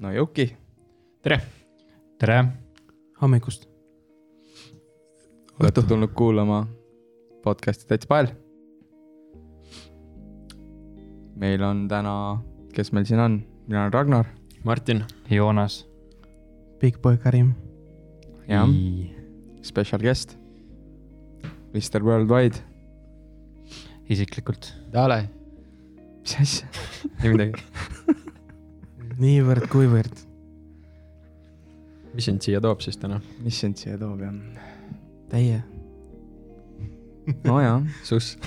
no Juki , tere . tere . hommikust . olete tulnud kuulama podcast'i Täitsa Pael . meil on täna , kes meil siin on , mina olen Ragnar Martin . Joonas . Big boy Karim . ja Mm. special guest , Mr Worldwide . isiklikult . Dale . mis asja ? ei midagi . niivõrd-kuivõrd . mis sind siia toob siis täna ? mis sind siia toob jah ? Teie . nojah , Sus .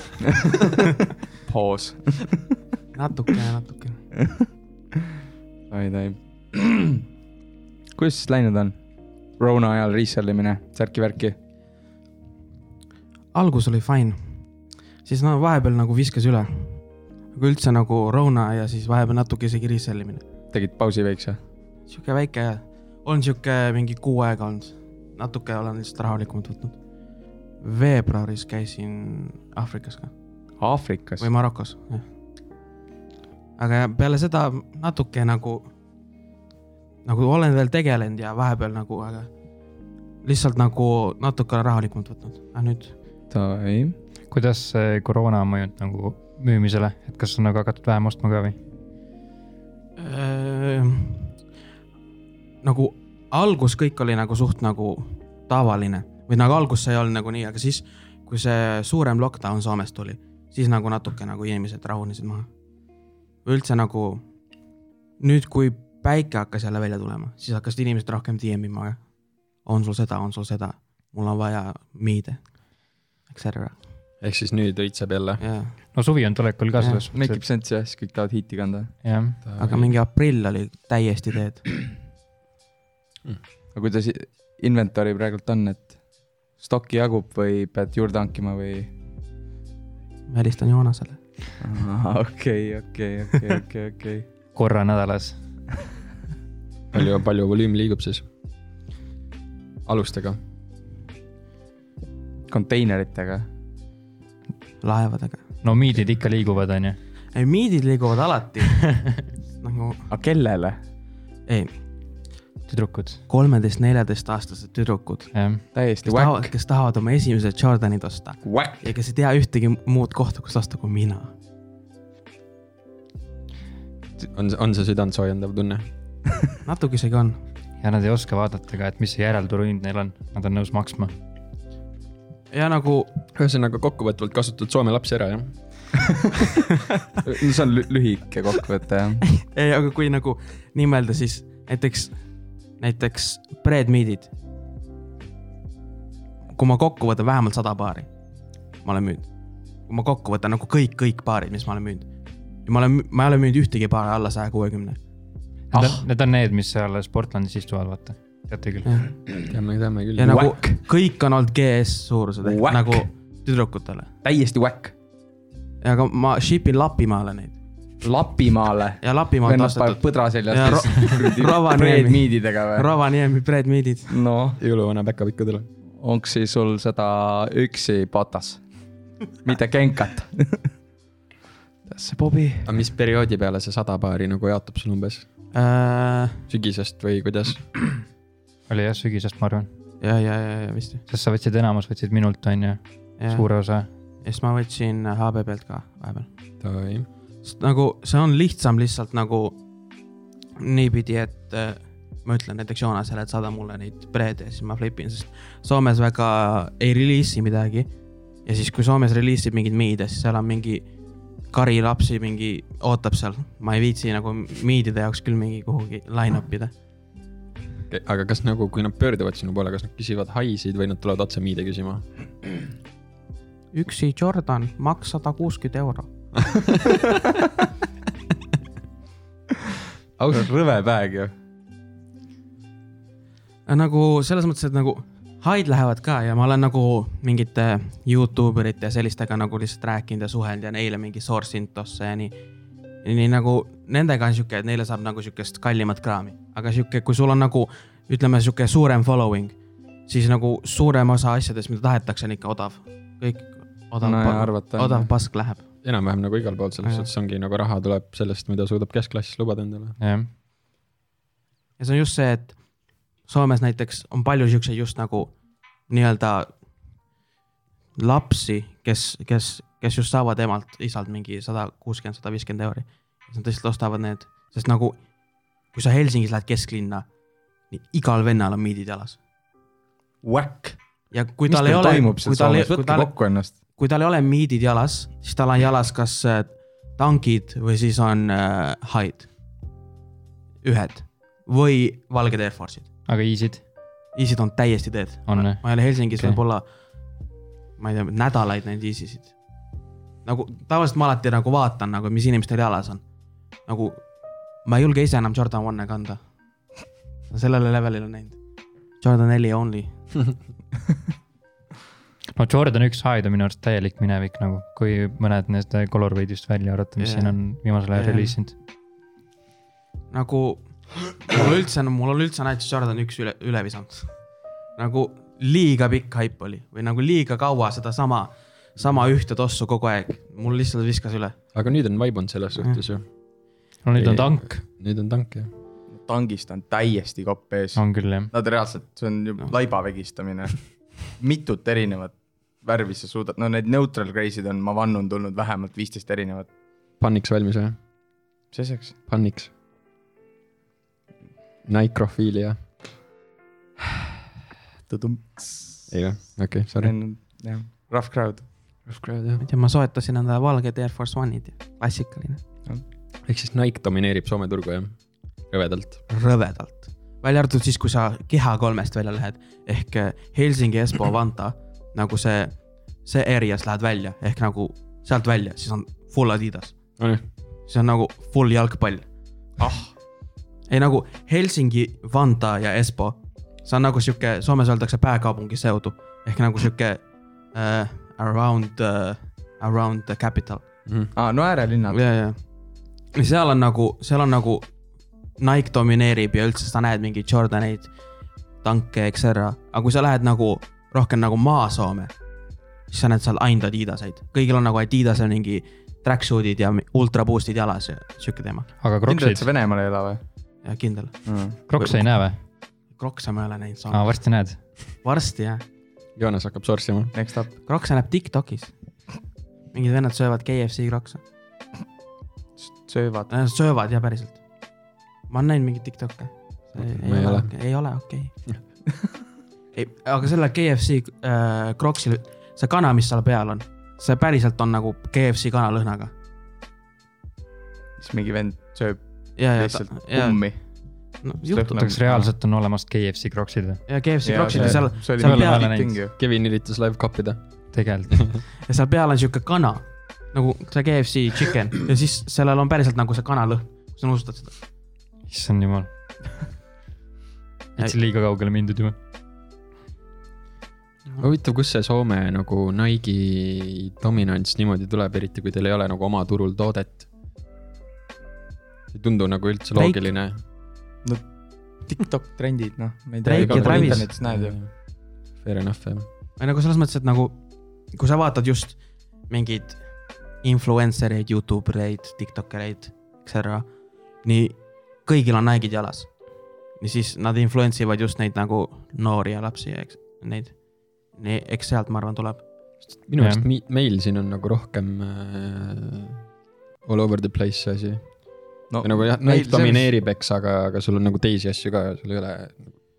poos . natukene , natukene . oi tai . kuidas siis läinud on ? Rona ajal resellimine , särki-värki . algus oli fine . siis no vahepeal nagu viskas üle . aga üldse nagu Rona ja siis vahepeal natuke isegi resellimine . tegid pausi veeks või ? sihuke väike , on sihuke mingi kuu aega olnud . natuke olen lihtsalt rahulikumalt võtnud . veebruaris käisin Aafrikas ka Aafrikas või Marokos , jah . aga peale seda natuke nagu , nagu olen veel tegelenud ja vahepeal nagu , aga lihtsalt nagu natuke olen rahulikumalt võtnud , aga nüüd tai . kuidas see koroona on mõjunud nagu müümisele , et kas on nagu hakatud vähem ostma ka või ? äh, . nagu algus kõik oli nagu suht nagu tavaline või nagu algus see ei olnud nagu nii , aga siis , kui see suurem lockdown Soomes tuli , siis nagu natuke nagu inimesed rahunesid maha . üldse nagu nüüd , kui päike hakkas jälle välja tulema , siis hakkasid inimesed rohkem DM ima . on sul seda , on sul seda , mul on vaja miide , eks ära , ehk siis nüüd õitseb jälle . jaa . no suvi on tulekul ka Jah, selles Make ib suhtes , sense'i jah , siis kõik tahavad hiiti kanda . et jah . aga mingi aprill oli täiesti teed . aga kuidas i- inventory praegult on , et stokki jagub või pead juurde hankima või ? välistan Joonasele . okei , okei , okei , okei , okei . korra nädalas . palju , palju volüüm liigub siis ? alustega . konteineritega . laevadega . no miidid ikka liiguvad , on ju . ei , miidid liiguvad alati nagu , aga kellele ? ei , tüdrukud , kolmeteist , neljateistaastased tüdrukud , jah . täiesti kes tahavad , whack , kes tahavad oma esimesed Jordanid osta whack . ja kes ei tea ühtegi muud kohta , kus osta kui mina . on , on see südantsoojendav tunne ? natuke isegi on , ja nad ei oska vaadata ka , et mis see järelturuhind neil on , nad on nõus maksma . ja nagu ühesõnaga kokkuvõtvalt kasutad Soome lapsi ära , jah ? no see on lü- lühike kokkuvõte jah . ei , aga kui nagu nii mõelda , siis näiteks , näiteks breadmeat'id . kui ma kokku võtan vähemalt sada paari , ma olen müünud . kui ma kokku võtan nagu kõik , kõik paarid , mis ma olen müünud . ja ma olen , ma ei ole müünud ühtegi paari alla saja kuuekümne . Need Ah. on , need on need , mis seal Sportlandis istuvad , vaata . teate küll . teame , teame küll ja . nagu kõik on olnud GS suurused ehk Whack. nagu tüdrukutele . täiesti whack . aga ma ship in Lapimaale neid Lapimaale . ja Lapimaalt vennad panevad ostetud põdra Ja seljas Ro- . Rovaniemi. miididega või ? Rovaniemi breadmeat'id . noh , jõuluvana päkapikkudele . onksi sul seda üksi patas , mitte kenkat . see Bobi . aga mis perioodi peale see sada paari nagu jaotub sul umbes ? ja , sügisest või kuidas ? oli jah sügisest , ma arvan , ja , ja , ja vist jah. sest sa võtsid enamus , võtsid minult , on ju , jah . suure osa . ja siis ma võtsin HB pealt ka vahepeal . oi , sest nagu see on lihtsam lihtsalt nagu niipidi , et äh, ma ütlen näiteks Joonasele , et saada mulle neid preede , siis ma flipin , sest Soomes väga ei reliisi midagi . ja siis , kui Soomes reliisib mingeid miide , siis seal on mingi kari lapsi mingi ootab seal , ma ei viitsi nagu miidide jaoks küll mingi kuhugi line up ida . aga kas nagu , kui nad pöörduvad sinu poole , kas nad küsivad haisid või nad tulevad otse miide küsima ? üksi Jordan , maks sada kuuskümmend euro . rõve päev ju . nagu selles mõttes , et nagu haid lähevad ka ja ma olen nagu mingite Youtube erite ja sellistega nagu lihtsalt rääkinud ja suhelnud ja neile mingi source intosse ja nii . nii nagu nendega on sihuke , et neile saab nagu sihukest kallimat kraami , aga sihuke , kui sul on nagu ütleme , sihuke suurem following , siis nagu suurem osa asjadest , mida tahetakse , on ikka odav . kõik odav No ja pa- arvata on, odav jah. pask läheb . enam-vähem nagu igal pool selles Jah. suhtes ongi nagu raha tuleb sellest , mida suudab keskklass lubada endale . jah , ja see on just see , et Soomes näiteks on palju siukseid just nagu nii-öelda lapsi , kes , kes , kes just saavad emalt , isalt mingi sada kuuskümmend , sada viiskümmend euri . siis nad lihtsalt ostavad need , sest nagu kui sa Helsingis lähed kesklinna , igal vennal on miidid jalas . Whack . ja kui mis tal ei teil ole , toimub seal kui tal ei , Soomes , kui võtke tal , kokku ennast . kui tal ei ole miidid jalas , siis tal on jalas kas äh, tankid või siis on äh, haid . ühed või valged Air Force'id , aga easy'd Easy'd on täiesti dead . on või ? ma ei ole Helsingis Okei. okay. võib-olla , ma ei tea , nädalaid neid Easy'sid . nagu tavaliselt ma alati nagu vaatan nagu , mis inimestel jalas on . nagu ma ei julge ise enam Jordan One'e kanda . sellele levelile on läinud . Jordan neli only . no Jordan üks Hyde on minu arust täielik minevik nagu , kui mõned neist colorway'dest välja arvata , mis Jaa. siin on viimasel ajal Jaa. reliisinud . nagu mul üldse , mul on üldse näiteks Jordan üks üle , üle visanud . nagu liiga pikk haip oli või nagu liiga kaua sedasama , sama ühte tossu kogu aeg , mul lihtsalt viskas üle . aga nüüd on vaibunud selles suhtes ju , no nüüd Ei. on tank , nüüd on tank jah . tangist on täiesti kopp ees . on küll jah . Nad reaalselt , see on ju laiba vegistamine . mitut erinevat värvi sa suudad , no need neutral grey'sid on , ma vannun , tulnud vähemalt viisteist erinevat . panniks valmis või ? mis asjaks ? panniks . Nikrofiili jah , ei või , okei okay, , sorry . jah , rough crowd . ma ei tea , ma soetasin endale valged Air Force One'id , klassikaline , ehk siis Nike domineerib Soome turgu jah , rõvedalt . rõvedalt . välja arvatud siis , kui sa keha kolmest välja lähed ehk eh, Helsingi Espoo Vanta , nagu see , see area's lähed välja ehk nagu sealt välja , siis on full Adidas , on ju , see on nagu full jalgpall . ah , ei nagu Helsingi , Vanta ja Espoo . see on nagu sihuke , Soomes öeldakse pääkaupungi seudu ehk nagu sihuke uh, around uh, , around the capital . Mhm. aa , no äärelinnad . ja , ja , ja seal on nagu , seal on nagu Nike domineerib ja üldse sa näed mingeid Jordaneid , tanke , eks ära , aga kui sa lähed nagu rohkem nagu Maa-Soome , siis sa näed seal ainult Adidaseid , kõigil on nagu Adidase mingi tracksuit'id ja mi- ultra boost'id jalas ja sihuke teema aga kindlalt kroksid sa , Venemaal ei ela või ja kindel . mm. ? krokse ei näe või ? Krokse ma ei ole näinud Soomes aa , ah, , varsti näed . varsti jah . Joonas hakkab sorssima . Next up , krokse näeb Tiktokis . mingid vennad söövad KFC krokse , söövad . Äh, söövad ja päriselt . ma olen näinud mingeid Tiktoke . Ma ei ole. ei ole okei okay. . aga selle KFC äh, kroksil , see kana , mis seal peal on , see päriselt on nagu KFC kanalõhnaga . siis mingi vend sööb ja , ja , lihtsalt umm. ja , kummi . no juhtub kas reaalselt on olemas KFC kroksid või ? ja KFC kroksid ja seal , see oli seal väga peal- hea ting ju . Kevin üritas live kappida . tegelikult , ja seal peal on sihuke kana nagu see KFC chicken ja siis sellel on päriselt nagu see kanalõhn , sa nuusutad seda . issand jumal . et see on liiga kaugele mindud juba . huvitav , kust see Soome nagu Nike'i dominants niimoodi tuleb , eriti kui teil ei ole nagu oma turul toodet ? ei tundu nagu üldse Drake. loogiline . Tiktok trendid , noh , ma ei Drake tea , ja igal pool Travis. internetis näed ju . Fair enough jah . või nagu selles mõttes , et nagu kui sa vaatad just mingeid influencer eid , Youtube eid , Tiktok eid , eks ära , nii kõigil on Nike'id jalas . ja siis nad influence ivad just neid nagu noori ja lapsi ja eks neid , nii eks sealt ma arvan tuleb . minu Jah. meelest mi- meil siin on nagu rohkem äh, all over the place see asi . no nagu jah , meil Nike selles- domineerib , eks , aga , aga sul on nagu teisi asju ka , sul ei ole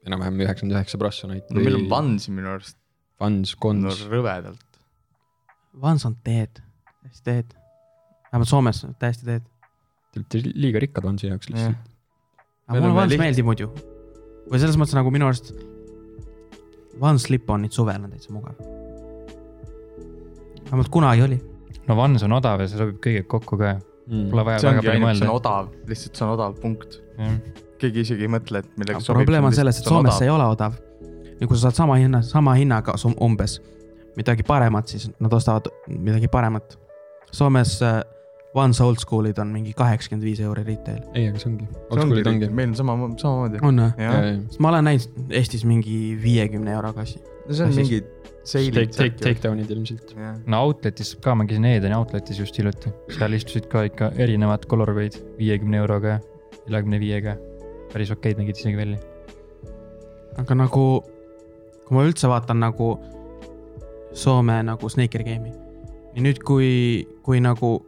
enam-vähem üheksakümmend üheksa prossa Nike'i . no meil on Vans minu arust , Vans , no Kons . rõvedalt . Vans on dead , täiesti dead , vähemalt Soomes täiesti dead . Te olete liiga rikkad Vansi jaoks lihtsalt . aga Meil mulle on Vans liht- liht... meeldib muidu . või selles mõttes nagu minu arust Vans lipp on nüüd suvel on täitsa mugav . vähemalt kunagi oli . no Vans on odav ja see sobib kõigega kokku ka . Mm. Pole vaja Mm. see väga ongi palju ainult , see on mõelda . odav , lihtsalt see on odav punkt . Jah. keegi isegi ei mõtle , et millega aga probleem Nagu on selles , et Soomes see ei ole odav . ja kui sa saad sama hinna , sama hinnaga sum- umbes midagi paremat , siis nad ostavad midagi paremat . Soomes äh, Vans Old School'id on mingi kaheksakümmend viis euri retail . ei , aga see ongi . see ongi Oldschoole'id ongi . meil on sama , samamoodi . on või ? jah , sest ma olen näinud Eestis mingi viiekümne euro kassi . no see on Siis- mingi Take , seilid . take , take down'id ilmselt . jah , no Outletis saab ka , ma käisin Edeni Outletis just hiljuti , seal istusid ka ikka erinevad colorway'd viiekümne euroga ja neljakümne viiega . päris okeid nägid isegi välja . aga nagu , kui ma üldse vaatan nagu Soome nagu Snaker Game'i ja nüüd , kui , kui nagu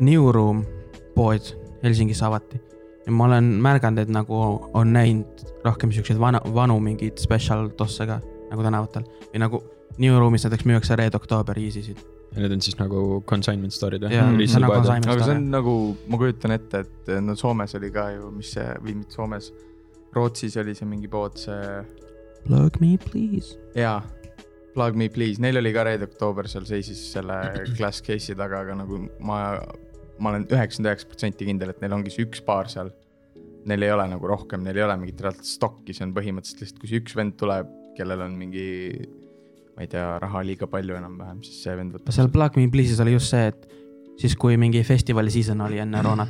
New Room pood Helsingis avati ja ma olen märganud , et nagu on näinud rohkem siukseid vana , vanu mingeid special tosse ka nagu tänavatel või nagu New Room'is näiteks müüakse Red October Yeezysid . ja need on siis nagu consignment store'id Jaa, need on või ? consignment. aga see on nagu , ma kujutan ette , et no Soomes oli ka ju , mis see , või mitte Soomes , Rootsis oli see mingi pood , see Plug me please . jaa , Plug me please , neil oli ka Red October seal seisis selle glass case'i taga , aga nagu ma , ma olen üheksakümmend üheksa protsenti kindel , et neil ongi see üks paar seal . Neil ei ole nagu rohkem , neil ei ole mingit reaalset stokki , see on põhimõtteliselt lihtsalt , kui see üks vend tuleb , kellel on mingi , ma ei tea , raha liiga palju enam-vähem , siis see vend võtab seal . Plug me please'is oli just see , et siis kui mingi festivali season oli enne Ronat ,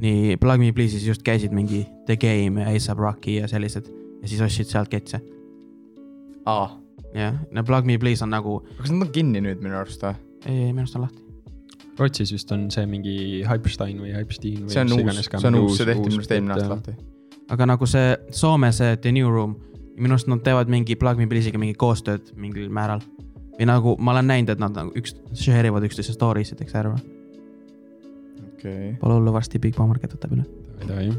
nii Plug me please'is just käisid mingi The Game ja ASAP Rocky ja sellised ja siis ostsid sealt ketse . aa , jah , no Plug me please on nagu , kas nad on kinni nüüd minu arust või ? ei , minu arust on lahti . Rootsis vist on see mingi Hyperstein või Hyperstein või see on mis uus , iganes ka, see on mingi uus , see tehti minu arust eelmine et, aasta äh, lahti . aga nagu see Soome , see The New Room , minu arust nad teevad mingi Plug me please'iga mingi koostööd mingil määral . või nagu ma olen näinud , et nad nagu üks , share ivad üksteise story sideks ära . okei , Pole hullu , varsti Big Bomb Market võtab üle . ei tea jah .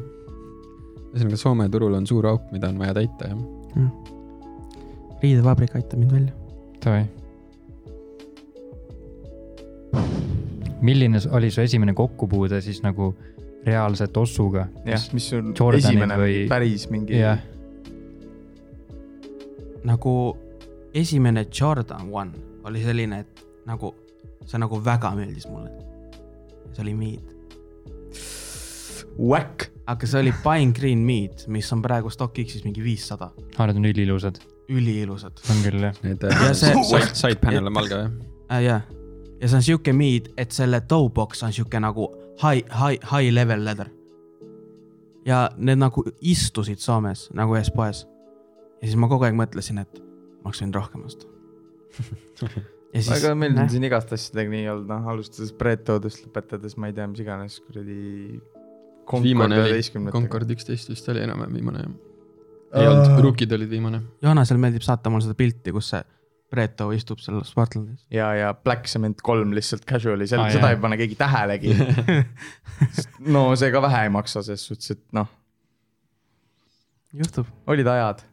ühesõnaga Soome turul on suur auk , mida on vaja täita jah . riidevabrik aitab mind välja . Davai . milline s- oli su esimene kokkupuude siis nagu reaalse tossuga ? jah , mis on Jordanid esimene või... või- päris mingi jah , nagu esimene Jordan One oli selline , et nagu see nagu väga meeldis mulle . see oli Mead , whack aga see oli Pine Green Mead , mis on praegu StockX-is mingi viissada , aa , Ah, need on üliilusad , üliilusad on küll jah . Need Ja see- äh, side , side panel on valge jah . äh, . jaa , ja see on sihuke Mead , et selle toe box on sihuke nagu high , high , high level leather . ja need nagu istusid Soomes nagu ühes poes . ja siis ma kogu aeg mõtlesin , et ma oleks võinud rohkem osta . väga meeldiv on siin igast asjadega nii olnud , noh alustades Bretodest , lõpetades ma ei tea , mis iganes kuradi . viimane oli , Concord üksteist vist oli enam-vähem viimane jah . ei olnud , rookid olid viimane . Joonasel meeldib saata mulle seda pilti , kus see Reeto istub seal Sportlandis . ja , ja Black Cement kolm lihtsalt casual'i , Aa, ah, jah. seda ei pane keegi tähelegi . no see ka vähe ei maksa , selles suhtes , et noh , juhtub . olid ajad .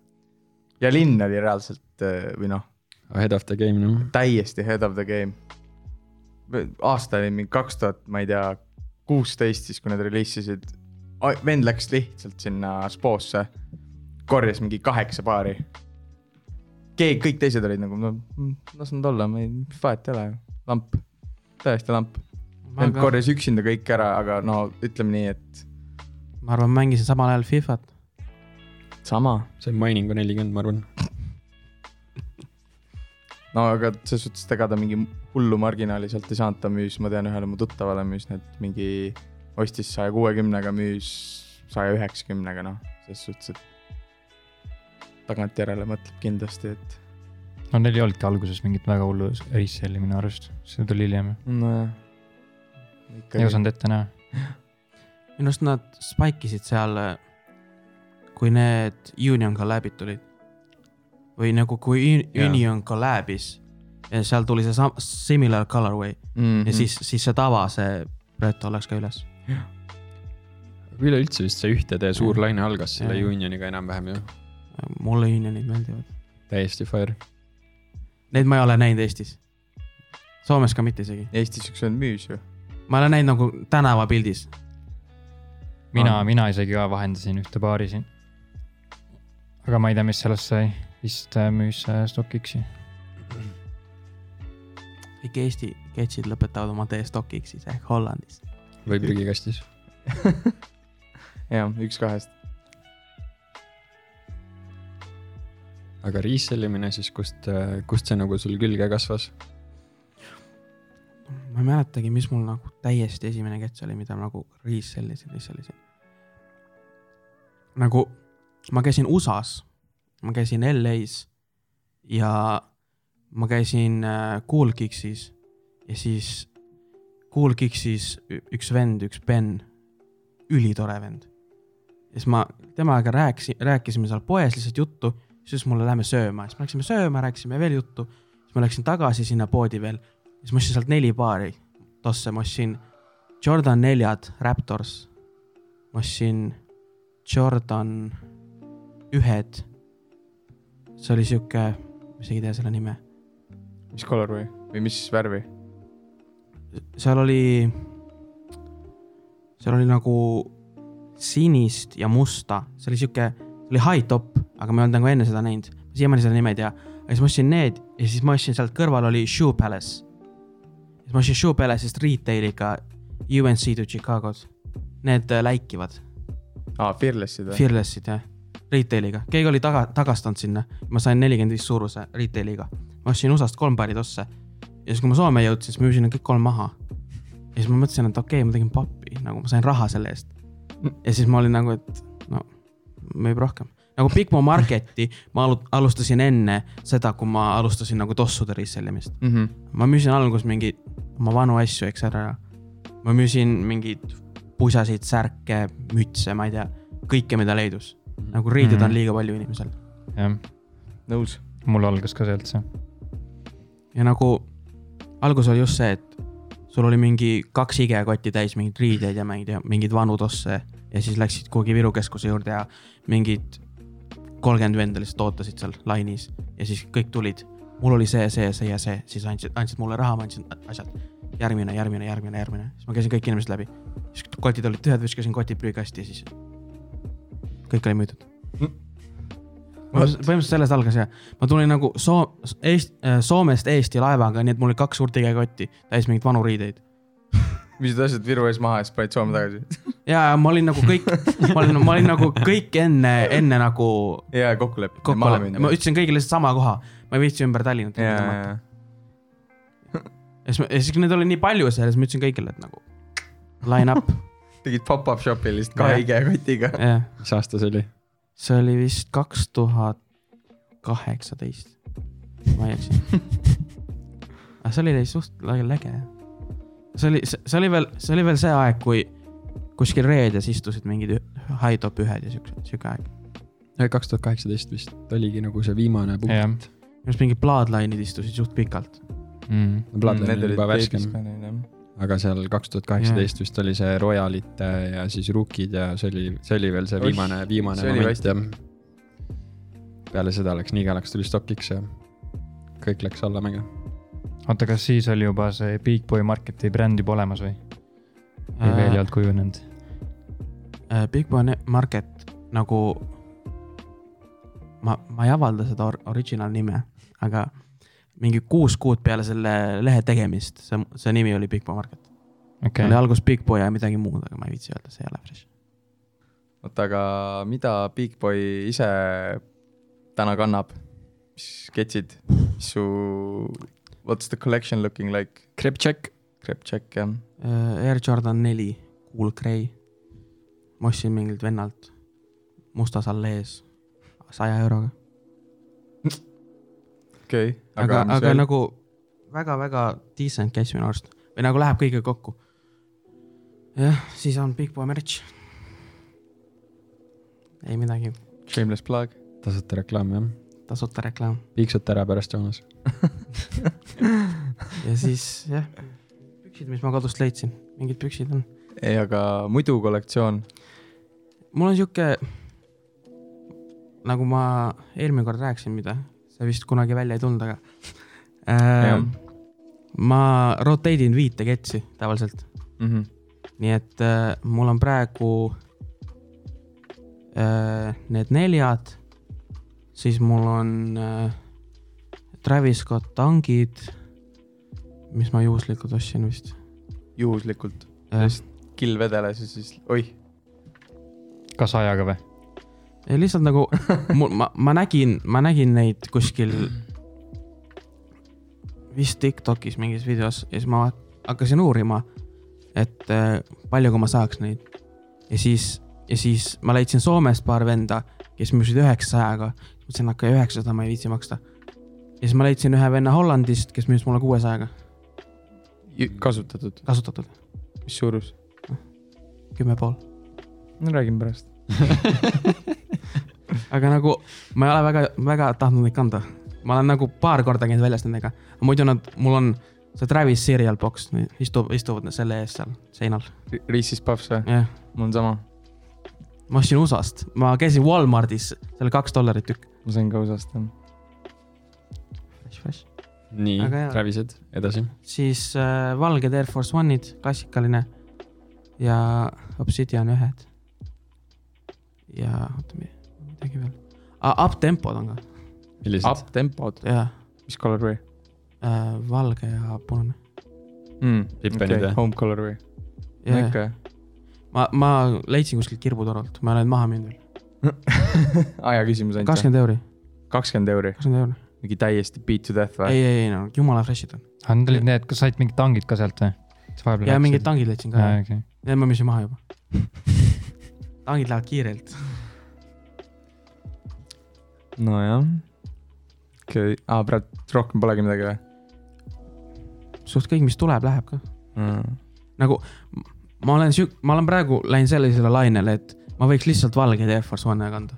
ja linn oli reaalselt eh, või noh , Ahead of the game noh . täiesti head of the game . aasta oli mingi kaks tuhat , ma ei tea , kuusteist siis , kui nad reliisisid . vend läks lihtsalt sinna spoosse , korjas mingi kaheksa paari . keegi , kõik teised olid nagu , no mm, las nad olla , meil vahet ei ole ju , lamp , täiesti lamp . ma vend ka- korjas üksinda kõik ära , aga no ütleme nii , et ma arvan , mängisin samal ajal Fifat . sama . see mining on nelikümmend , ma arvan . no aga selles suhtes , et ega ta mingi hullu marginaali sealt ei saanud , ta müüs , ma tean , ühele mu tuttavale müüs need mingi , ostis saja kuuekümnega , müüs saja üheksakümnega , noh , selles suhtes , et tagantjärele mõtleb kindlasti , et no neil ei olnudki alguses mingit väga hullu s- resale'i minu arust , see tuli hiljem , nojah . ei osanud ette näha . minu arust nad spike isid seal , kui need Union Collab'id tulid . või nagu , kui Uni- Jaa. Union Collab'is , seal tuli see sam- , similar colorway ja mm mm. siis , siis see tava , see Reeto läks ka üles . üleüldse vist see ühtede suur laine algas selle Jah. Unioniga enam-vähem ju . mulle Unionid meeldivad . täiesti fire . Neid ma ei ole näinud Eestis . Soomes ka mitte isegi . Eestis üks vend müüs ju . ma olen näinud nagu tänavapildis . mina Ah. Aa. , mina isegi ka vahendasin ühte paari siin . aga ma ei tea , mis sellest sai , vist äh, müüs äh, StockX-i . kõik Eesti ketšid lõpetavad oma tee StockX-is ehk Hollandis . või prügikastis . jah , üks kahest . aga resell imine siis , kust , kust see nagu sul külge kasvas ? ma ei mäletagi , mis mul nagu täiesti esimene ketš oli , mida ma nagu resell isin , resell isin . nagu ma käisin USA-s , ma käisin LA-s ja ma käisin äh, Cool Kicksis ja siis Cool Kicksis ü- üks vend , üks Ben , ülitore vend . siis ma temaga rääkisin , rääkisime seal poes lihtsalt juttu , siis ütles mulle lähme sööma , siis me läksime sööma , rääkisime veel juttu . siis ma läksin tagasi sinna poodi veel , siis ma ostsin sealt neli paari tosse , ma ostsin Jordan neljad Raptors . ma ostsin Jordan ühed . see oli sihuke , ma isegi ei tea selle nime , mis color või , või mis värvi ? seal oli , seal oli nagu sinist ja musta , see oli sihuke , see oli high top , aga ma ei olnud nagu enne seda näinud , siiamaani seda nime ei tea . ja siis ma ostsin need ja siis ma ostsin sealt kõrval oli Shoe Palace . siis ma ostsin Shoe Palace'ist retail'iga UNC to Chicago's , need äh, läikivad aa , Fearlessid või ? Fearlessid jah , retail'iga , keegi oli taga , tagastanud sinna , ma sain nelikümmend viis suuruse retail'iga . ma ostsin USA-st kolm paari tosse ja siis , kui ma Soome jõudsin , siis ma müüsin need kõik kolm maha . ja siis ma mõtlesin , et okei okay, , ma tegin pappi , nagu ma sain raha selle eest . ja siis ma olin nagu , et no müüb rohkem , nagu Big Mo Marketi ma alu- alustasin enne seda , kui ma alustasin nagu tossude resell imist . mhmh , ma müüsin alguses mingi oma vanu asju , eks ära . ma müüsin mingeid pusasid , särke , mütse , ma ei tea , kõike , mida leidus . nagu riided on Mhm. liiga palju inimesel jah , nõus . mul algas ka sealt see , ja nagu alguses oli just see , et sul oli mingi kaks higekotti täis mingeid riideid ja mingeid , mingeid vanu tosse ja siis läksid kuhugi Viru keskuse juurde ja mingid kolmkümmend venda lihtsalt ootasid seal lainis ja siis kõik tulid . mul oli see , see , see ja see , siis andsid , andsid mulle raha , ma andsin asjad . järgmine , järgmine , järgmine , järgmine , siis ma käisin kõik inimesed läbi , siis kotid olid tühjad , viskasin kotid prügikasti ja siis kõik oli müüdud . põhimõtteliselt sellest algas jah , ma tulin nagu Soom- , Eest- , Soomest Eesti laevaga , nii et mul oli kaks suurt igekotti täis mingeid vanu riideid . müüsid asjad Viru ees maha ja siis panid Soome tagasi . ja , ja ma olin nagu kõik , ma olin , ma olin nagu kõik enne , enne nagu ja kokku leppinud . kokku olnud , ma ütlesin kõigile lihtsalt sama koha , ma ei viitsi ümber Tallinnat ja , yeah. . ja , ja siis , ja siis neid oli nii palju seal ja siis ma ütlesin kõigile , et nagu line up , ja tegid pop-up shop'i lihtsalt kahe Jah. higekotiga . jah . mis aasta see oli ? see oli vist kaks tuhat kaheksateist , ma ei eksi . aga see oli teil suht lä- läge jah . see oli , see oli veel , see oli veel see aeg , kui kuskil reedes istusid mingid ü- high top ühed ja siukse , siuke aeg . kaks tuhat kaheksateist vist oligi nagu see viimane jah punkt . just mingid bloodline'id istusid suht pikalt . mm. . Bloodline oli juba värskem , värskem . aga seal kaks tuhat kaheksateist vist oli see Royalite ja siis Rookid ja see oli , see oli veel see Oih, viimane , viimane see oli moment hästi. jah . peale seda läks , nii kalaks tuli StockX ja kõik läks allamäge . oota , kas siis oli juba see Big Boy Marketi bränd juba olemas või ? või veel ei olnud kujunenud ? Äh, Big Boy Ne- Market nagu , ma , ma ei avalda seda or- original nime , aga mingi kuus kuud peale selle lehe tegemist , see , see nimi oli Big Boy Market . okay. . okei oli , alguses Big Boy ja midagi muud , aga ma ei viitsi öelda , see ei ole fresh . oota , aga mida Big Boy ise täna kannab ? mis sketšid , mis su , what's the collection looking like ? Crep check . Crep check jah , Äh, Air Jordan neli , Cool Grey . ma ostsin mingilt vennalt mustas allees saja euroga , okei okay. . aga , aga, aga . nagu väga-väga decent käis minu arust või nagu läheb kõigega kokku . jah , siis on Big Boy merch . ei midagi , Shameless plug . tasuta reklaam jah , tasuta reklaam piiksute ära pärast Joonas . ja siis jah , püksid , mis ma kodust leidsin , mingid püksid on . ei , aga muidu kollektsioon , mul on sihuke , nagu ma eelmine kord rääkisin , mida see vist kunagi välja ei tulnud , aga äh, Jah. . ma rotate in viite ketsi tavaliselt , mm . -hmm. nii et äh, mul on praegu äh, need neljad , siis mul on äh, Travis Scott tangid , mis ma juhuslikult ostsin vist juhuslikult , äh, . kill vedeles ja siis oih , kas ajaga või ? ei lihtsalt nagu mul , ma , ma nägin , ma nägin neid kuskil vist Tiktokis mingis videos ja siis ma hakkasin uurima , et äh, palju , kui ma saaks neid . ja siis , ja siis ma leidsin Soomest paar venda , kes müüsid üheksasajaga , mõtlesin , et okei , üheksasada ma ei viitsi maksta . ja siis ma leidsin ühe venna Hollandist , kes müüs mulle kuuesajaga , kasutatud , kasutatud , mis suurus ? kümme pool . no räägime pärast . aga nagu ma ei ole väga , väga tahtnud neid kanda . ma olen nagu paar korda käinud väljas nendega , muidu nad , mul on see Travis Serial Box , istub , istuvad nad selle ees seal seinal , Reese's Puffs või ? jah . mul on sama , ma ostsin USA-st , ma käisin Walmartis , seal kaks dollarit tükk . ma sain ka USA-st jah . nii Väga hea. , Travised , edasi . siis äh, valged Air Force One'id , klassikaline ja Obsidian ühed . ja oota , midagi veel , uptempod on ka , millised ? Up-tempod , jaa mis colorway äh, , valge ja punane . mm, ? Pippinid, jah? home colorway , no Yeah. ikka jah . ma , ma leidsin kuskilt kirbutorult , ma olen maha müünud veel , aja küsimus ainult , kakskümmend euri , kakskümmend euri , kakskümmend euri . mingi täiesti beat to death ei või ?, ei , ei no jumala fresh'id on aga need olid need , kas said mingid tangid ka sealt või ? ja mingid tangid leidsin ka , okay. . need ma müüsin maha juba . tangid lähevad kiirelt . nojah . okei okay. , aa praegu rohkem polegi midagi või suht kõik , mis tuleb , läheb ka . mm. ? nagu m- ma olen siuk- , ma olen praegu läinud sellisele lainele , et ma võiks lihtsalt valgeid Air Force One'e kanda .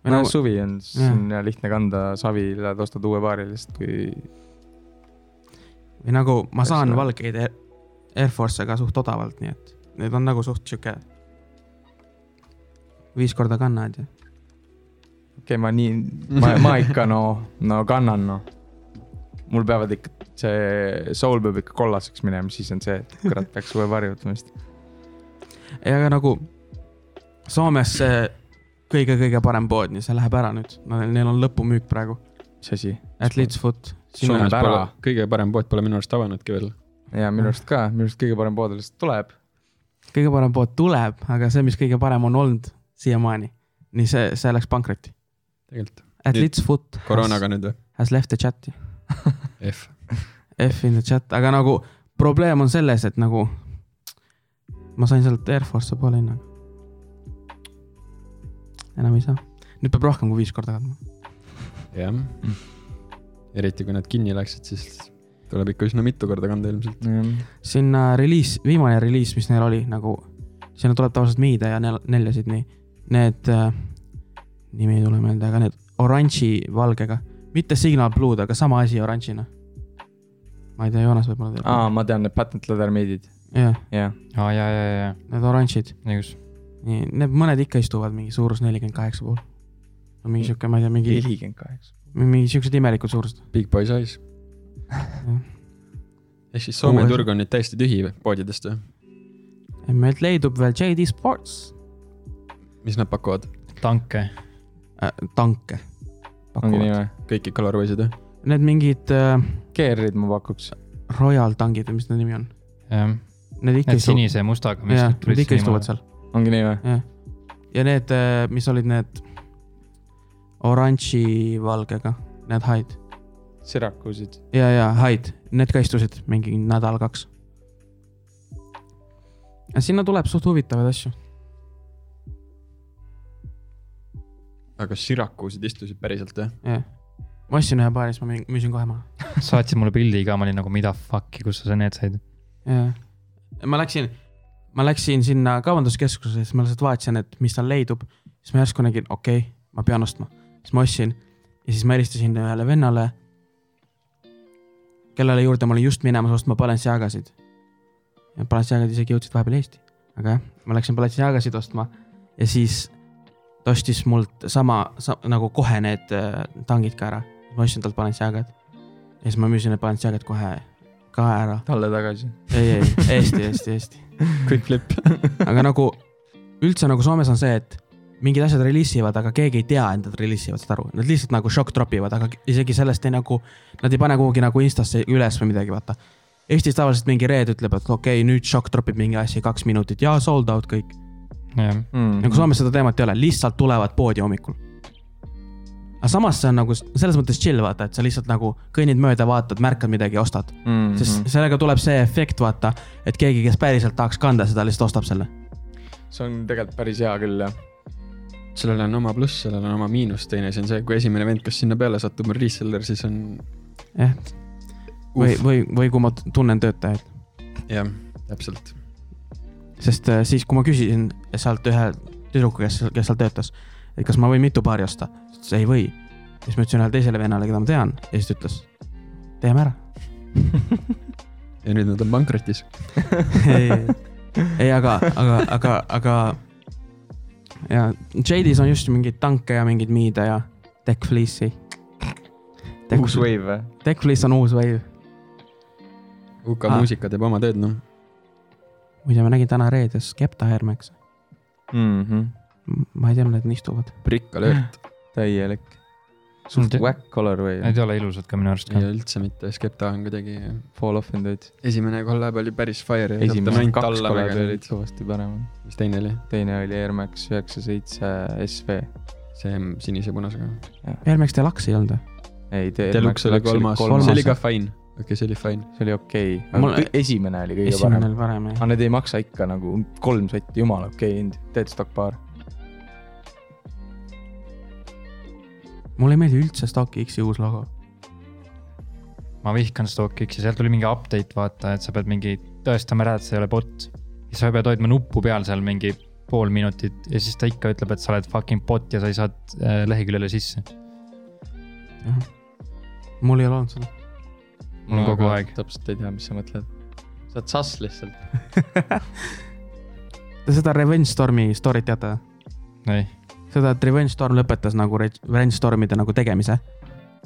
või no nagu suvi on , siis on ja lihtne kanda savi , lähed ostad uue paari lihtsalt , kui või nagu ma Täpselt. saan valgeid Air- Air Force'e ka suht odavalt , nii et need on nagu suht sihuke . viis korda kannad ja , okei okay, , ma nii , ma , ma ikka no , no kannan noh . mul peavad ikka , see soul peab ikka kollaseks minema , siis on see , et kurat , peaks uue varju võtma vist . aga nagu Soomes see kõige-kõige parem pood , nii see läheb ära nüüd , neil on lõpumüük praegu , mis asi ? at Leeds Foot . Sul on Soomes pole ära. , kõige parem pood pole minu arust avanudki veel . ja minu arust ka , minu arust kõige parem pood lihtsalt tuleb . kõige parem pood tuleb , aga see , mis kõige parem on olnud siiamaani , nii see , see läks pankrotti . tegelikult . At Nüüd Leeds Foot has, koroonaga nüüd või ? has left the chat'i , F . F in the chat , aga nagu probleem on selles , et nagu ma sain sealt Air Force'i poole hinnaga . enam ei saa , nüüd peab rohkem kui viis korda kandma . jah . Mm. eriti kui nad kinni läksid , siis tuleb ikka üsna mitu korda kanda ilmselt . sinna reliis , viimane reliis , mis neil oli nagu , sinna tuleb tavaliselt miide ja nel- neljasid , nii . Need äh, , nimi ei tule meelde , aga need oranži valgega , mitte Signal Blue'd , aga sama asi oranžina . ma ei tea , Joonas võib-olla teab . aa , ma tean need patent leather made'id , jah , jah . aa , ja , ja , ja , need oranžid , ja just . nii , need mõned ikka istuvad mingi suurus nelikümmend kaheksa pool . no mingi sihuke , ma ei tea , mingi , nelikümmend kaheksa . mingi siuksed imelikud suurused . Big boy size . ehk siis Soome Kuues- turg on nüüd täiesti tühi või? poodidest või ? meilt leidub veel JD Sports mis nad pakuvad ? tanke . äh, tanke . ongi nii pakuvad , või ? kõiki colorway'sid või ? need mingid äh, Gear'id ma pakuks . Royal tangid või mis nende nimi on ? jah , Need ikka need istuvad sinise ja mustaga . jah , nad ikka istuvad seal ongi nii või ? ja need , mis olid need oranži valgega , need haid Syracuse'id . ja , ja haid , need ka istusid mingi nädal-kaks . sinna tuleb suht huvitavaid asju , aga Syracuse'id istusid päriselt või ? jah . ma ostsin ühe paari , siis ma müün- müüsin kohe maha , saatsid mulle pildi ka , ma olin nagu mida fuck'i , kus sa need said . jah . ma läksin , ma läksin sinna kaubanduskeskusesse , siis ma lihtsalt vaatasin , et mis seal leidub , siis ma järsku nägin , okei okay, , ma pean ostma , siis ma ostsin ja siis ma helistasin ühele vennale , kellele juurde ma olin just minemas ostma Balenciagasid . Balenciagad isegi jõudsid vahepeal Eesti , aga jah , ma läksin Balenciagasid ostma ja siis ta ostis mult sama sa, , nagu kohe need äh, tangid ka ära , ma ostsin talt Balenciagad ja siis ma müüsin need Balenciagad kohe ka ära , talle tagasi . ei , ei , Eesti , Eesti , Eesti . Quick flip . aga nagu üldse nagu Soomes on see , et mingid asjad reliisivad , aga keegi ei tea , et nad reliisivad , saad aru , nad lihtsalt nagu shock drop ivad , aga isegi sellest ei nagu , nad ei pane kuhugi nagu Instasse üles või midagi , vaata . Eestis tavaliselt mingi reed ütleb , et okei okay, , nüüd shock drop ib mingi asi kaks minutit ja sold out kõik . jah , Mm. nagu Mhm. Soomes seda teemat ei ole , lihtsalt tulevad poodi hommikul . aga samas see on nagu s- selles mõttes chill , vaata , et sa lihtsalt nagu kõnnid mööda , vaatad , märkad midagi , ostad . Mm-hmm. Mhm. sest sellega tuleb see efekt , vaata , et keegi , kes päriselt tahaks kanda seda , lihtsalt ostab selle . see on tegelikult päris hea küll jah . sellel on oma pluss , sellel on oma miinus , teine asi on see , kui esimene vend , kes sinna peale satub , on reseller , siis on jah , või , uff , või , või kui ma t- tunnen töötajaid , jah , täpselt . sest äh, siis , kui ma küsisin sealt ühe tüdruku , kes , kes seal töötas , et kas ma võin mitu paari osta . ta ütles , ei või . siis ma ütlesin ühele teisele vennale , keda ma tean ja siis ta ütles , teeme ära . ja nüüd nad on pankrotis . ei , aga , aga , aga , aga ja Jadis on just mingeid tanke ja mingeid miide ja tech fleece'i . uus Tech wave või ? fleece on uus wave . UK Ah. muusika teeb oma tööd , noh . muide , ma nägin täna reedes Skepta Hermex . Mm-hmm. ma ei teadnud , et nad istuvad . prikka lööd . täielik . Sul suht te- whack color wave , Need ei ole ilusad ka minu arust ei ka . ole üldse mitte , Skepta on kuidagi , fall off in dates . esimene kollab oli päris fire . esimesed kaks kolmed olid . kõvasti paremad . mis teine oli ? teine oli Air Max üheksa seitse SV . see sinise-punasega . Hermex Deluxe ei olnud või ? ei , Deluxe oli kolmas , kolmas . see oli see ka fine . okei okay, , see oli fine . oli okei Mul- okay. . esimene oli kõige esimene parem . oli parem jah . aga need ei maksa ikka nagu kolm sotti , jumala okei okay, hind , Deadstock paar . mulle ei meeldi üldse Stock X-i uus logo . ma vihkan StockX-i , seal tuli mingi update , vaata , et sa pead mingi tõestama ära , et see ei ole bot . ja sa pead hoidma nuppu peal seal mingi pool minutit ja siis ta ikka ütleb , et sa oled fucking bot ja sa ei saa äh, leheküljele sisse . mul ei ole olnud seda . mul on kogu aeg . täpselt ei tea , mis sa mõtled . sa oled sass lihtsalt . Te seda Revenge Stormi story't teate või ? ei , seda , et Revenge Storm lõpetas nagu Re- Revenge Stormide nagu tegemise .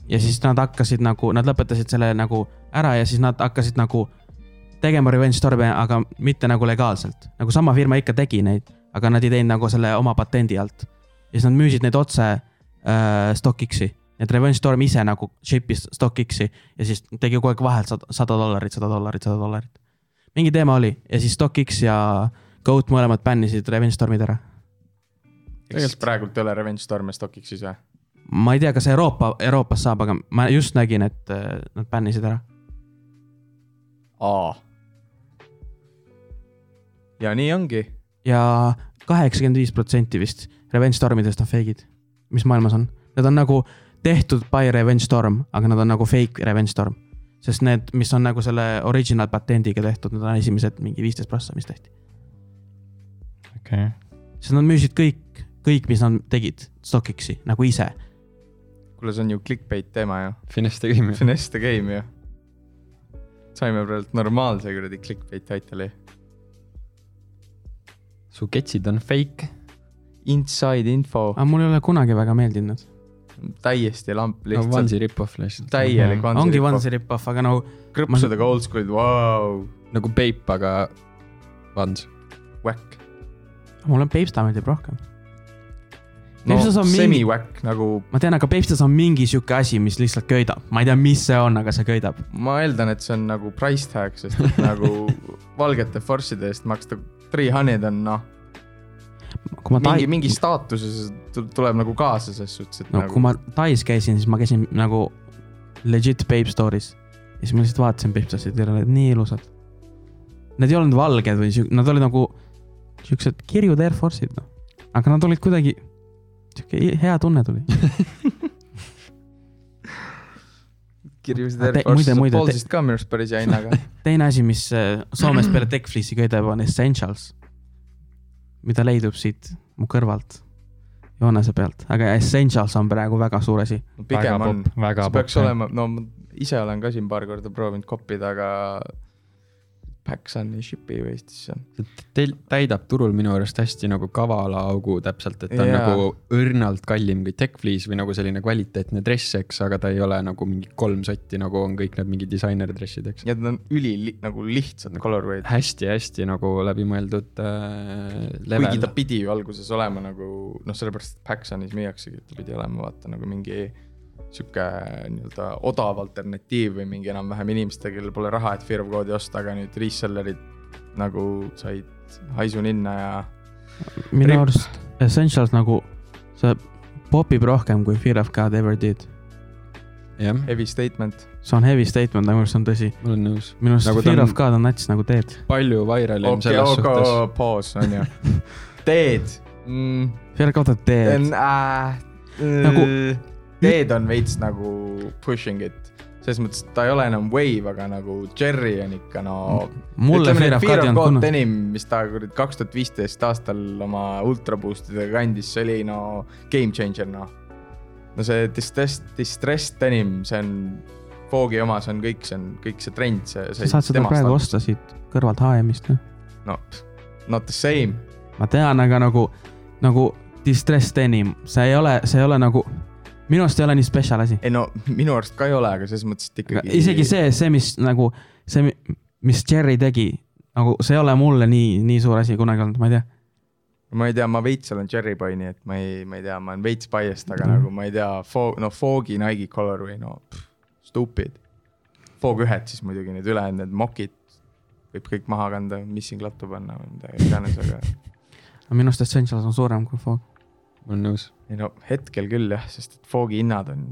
ja siis nad hakkasid nagu , nad lõpetasid selle nagu ära ja siis nad hakkasid nagu tegema Revenge Storme , aga mitte nagu legaalselt . nagu sama firma ikka tegi neid , aga nad ei teinud nagu selle oma patendi alt . ja siis nad müüsid neid otse äh, StockX-i . et Revenge Storm ise nagu ship'is StockX-i ja siis tegi kogu aeg vahelt sada- sada dollarit , sada dollarit , sada dollarit . mingi teema oli ja siis StockX ja Goat mõlemad bännisid Revenge Stormid ära kas praegult ei ole Revenge Storm ja Stockiks siis või ? ma ei tea , kas Euroopa , Euroopas saab , aga ma just nägin , et äh, nad bännisid ära . aa . ja nii ongi . ja kaheksakümmend viis protsenti vist Revenge Stormidest on fake'id , mis maailmas on . Need on nagu tehtud by Revenge Storm , aga nad on nagu fake Revenge Storm . sest need , mis on nagu selle original patendiga tehtud , need on esimesed mingi viisteist prossa , mis tehti . okei . sest nad müüsid kõik , kõik , mis nad tegid StockX-i nagu ise . kuule , see on ju clickbait teema ju . Finesse tegime . see on Este game ju . saime praegu normaalse kuradi clickbait title'i . su ketsid on fake . Inside info , aga mul ei ole kunagi väga meeldinud nad . täiesti lamp no lihtsalt . Vansi rip-off lihtsalt . täielik Vansi . ongi Vansi rip-off , aga no krõpsudega oldschool'id , vau , nagu Peip , aga Vans . whack . mulle Peipsta meeldib rohkem . no Peipsas on mingi- semi-whack nagu , ma tean , aga Peipstas on mingi sihuke asi , mis lihtsalt köidab , ma ei tea , mis see on , aga see köidab . ma eeldan , et see on nagu price tag , sest et nagu valgete force'ide eest maksta three hundred on noh , kui ma mingi , Tai- , mingi staatuse tu- tuleb nagu kaasa ses suhtes , et no nagu kui ma Tais käisin , siis ma käisin nagu legit Peip Store'is . ja siis ma lihtsalt vaatasin Peipstasid ja need olid nii ilusad . Need ei olnud valged või siuk- , nad olid nagu siuksed kirjud Air Force'id , noh . aga nad olid kuidagi , sihuke i- hea tunne tuli . kirjusid Aga Air te- muide- Force'i muide, te- Boltist ka minu arust päris hea hinnaga . teine asi , mis äh, Soomest peale Techfleece'i köidab , on Essentials , mida leidub siit mu kõrvalt joonese pealt , aga Essentials on praegu väga suur asi . väga pigem on popp , väga see peaks popp . olema , no ma ise olen ka siin paar korda proovinud koppida , aga Pax on ja Shipi ju Eestisse . Teil täidab turul minu arust hästi nagu kavala augu täpselt , et ta on Jaa. nagu õrnalt kallim kui Techfleece või nagu selline kvaliteetne dress , eks , aga ta ei ole nagu mingi kolm sotti , nagu on kõik need mingid disainerdressid , eks . ja nad on üli li, nagu lihtsad colorway'd , hästi-hästi nagu läbimõeldud äh, kuigi level ta . pidi ju alguses olema nagu noh , sellepärast et Paxonis müüaksegi , et ta pidi olema vaata nagu mingi sihuke nii-öelda odav alternatiiv või mingi enam-vähem inimestele , kellel pole raha , et Fear of God'i osta , aga nüüd resellerid nagu said haisu ninna ja minu Rip. arust Essentials nagu , see popib rohkem kui Fear of God ever did . jah , heavy statement . see on heavy statement , aga minu arust see on tõsi . ma olen nõus . minu arust Nagu nagu ta Fear on- on... of God on nats nagu teed . palju viralim okay, okei , selles okay, aga suhtes . poos on ju , teed mm. Fear of God on teed . N- äh, Nagu- Need on veits nagu pushing it , selles mõttes , et ta ei ole enam Wave , aga nagu Cherry on ikka no . Mm. mulle Fear of Guardian kunagi . kunagi , denim , mis ta kuradi kaks tuhat viisteist aastal oma ultra boost idega kandis , see oli no game changer noh . no see distress , distress denim , see on , Foogi oma , see on kõik , see on kõik see trend , see . sa saad seda praegu osta siit kõrvalt HM-ist , noh . no not the same , ma tean , aga nagu , nagu distress denim , see ei ole , see ei ole nagu , minu arust ei ole nii spetsial asi . ei no minu arust ka ei ole , aga selles mõttes , et ikkagi . isegi . see , see , mis nagu , see , mis Cherry tegi , nagu see ei ole mulle nii , nii suur asi kunagi olnud , ma ei tea . ma ei tea , ma veits olen Cherry Boy , nii et ma ei , ma ei tea , ma olen veits biased , aga nagu ma ei tea , Foog , no Foogi Nike colorway , no pff, stupid . Foog ühed siis muidugi , need ülejäänud need mokid võib kõik maha kanda , missing lattu panna või midagi iganes , aga minu arust Essentials on suurem kui Fog . ma olen nõus . ei no hetkel küll jah , sest et Foogi hinnad on ,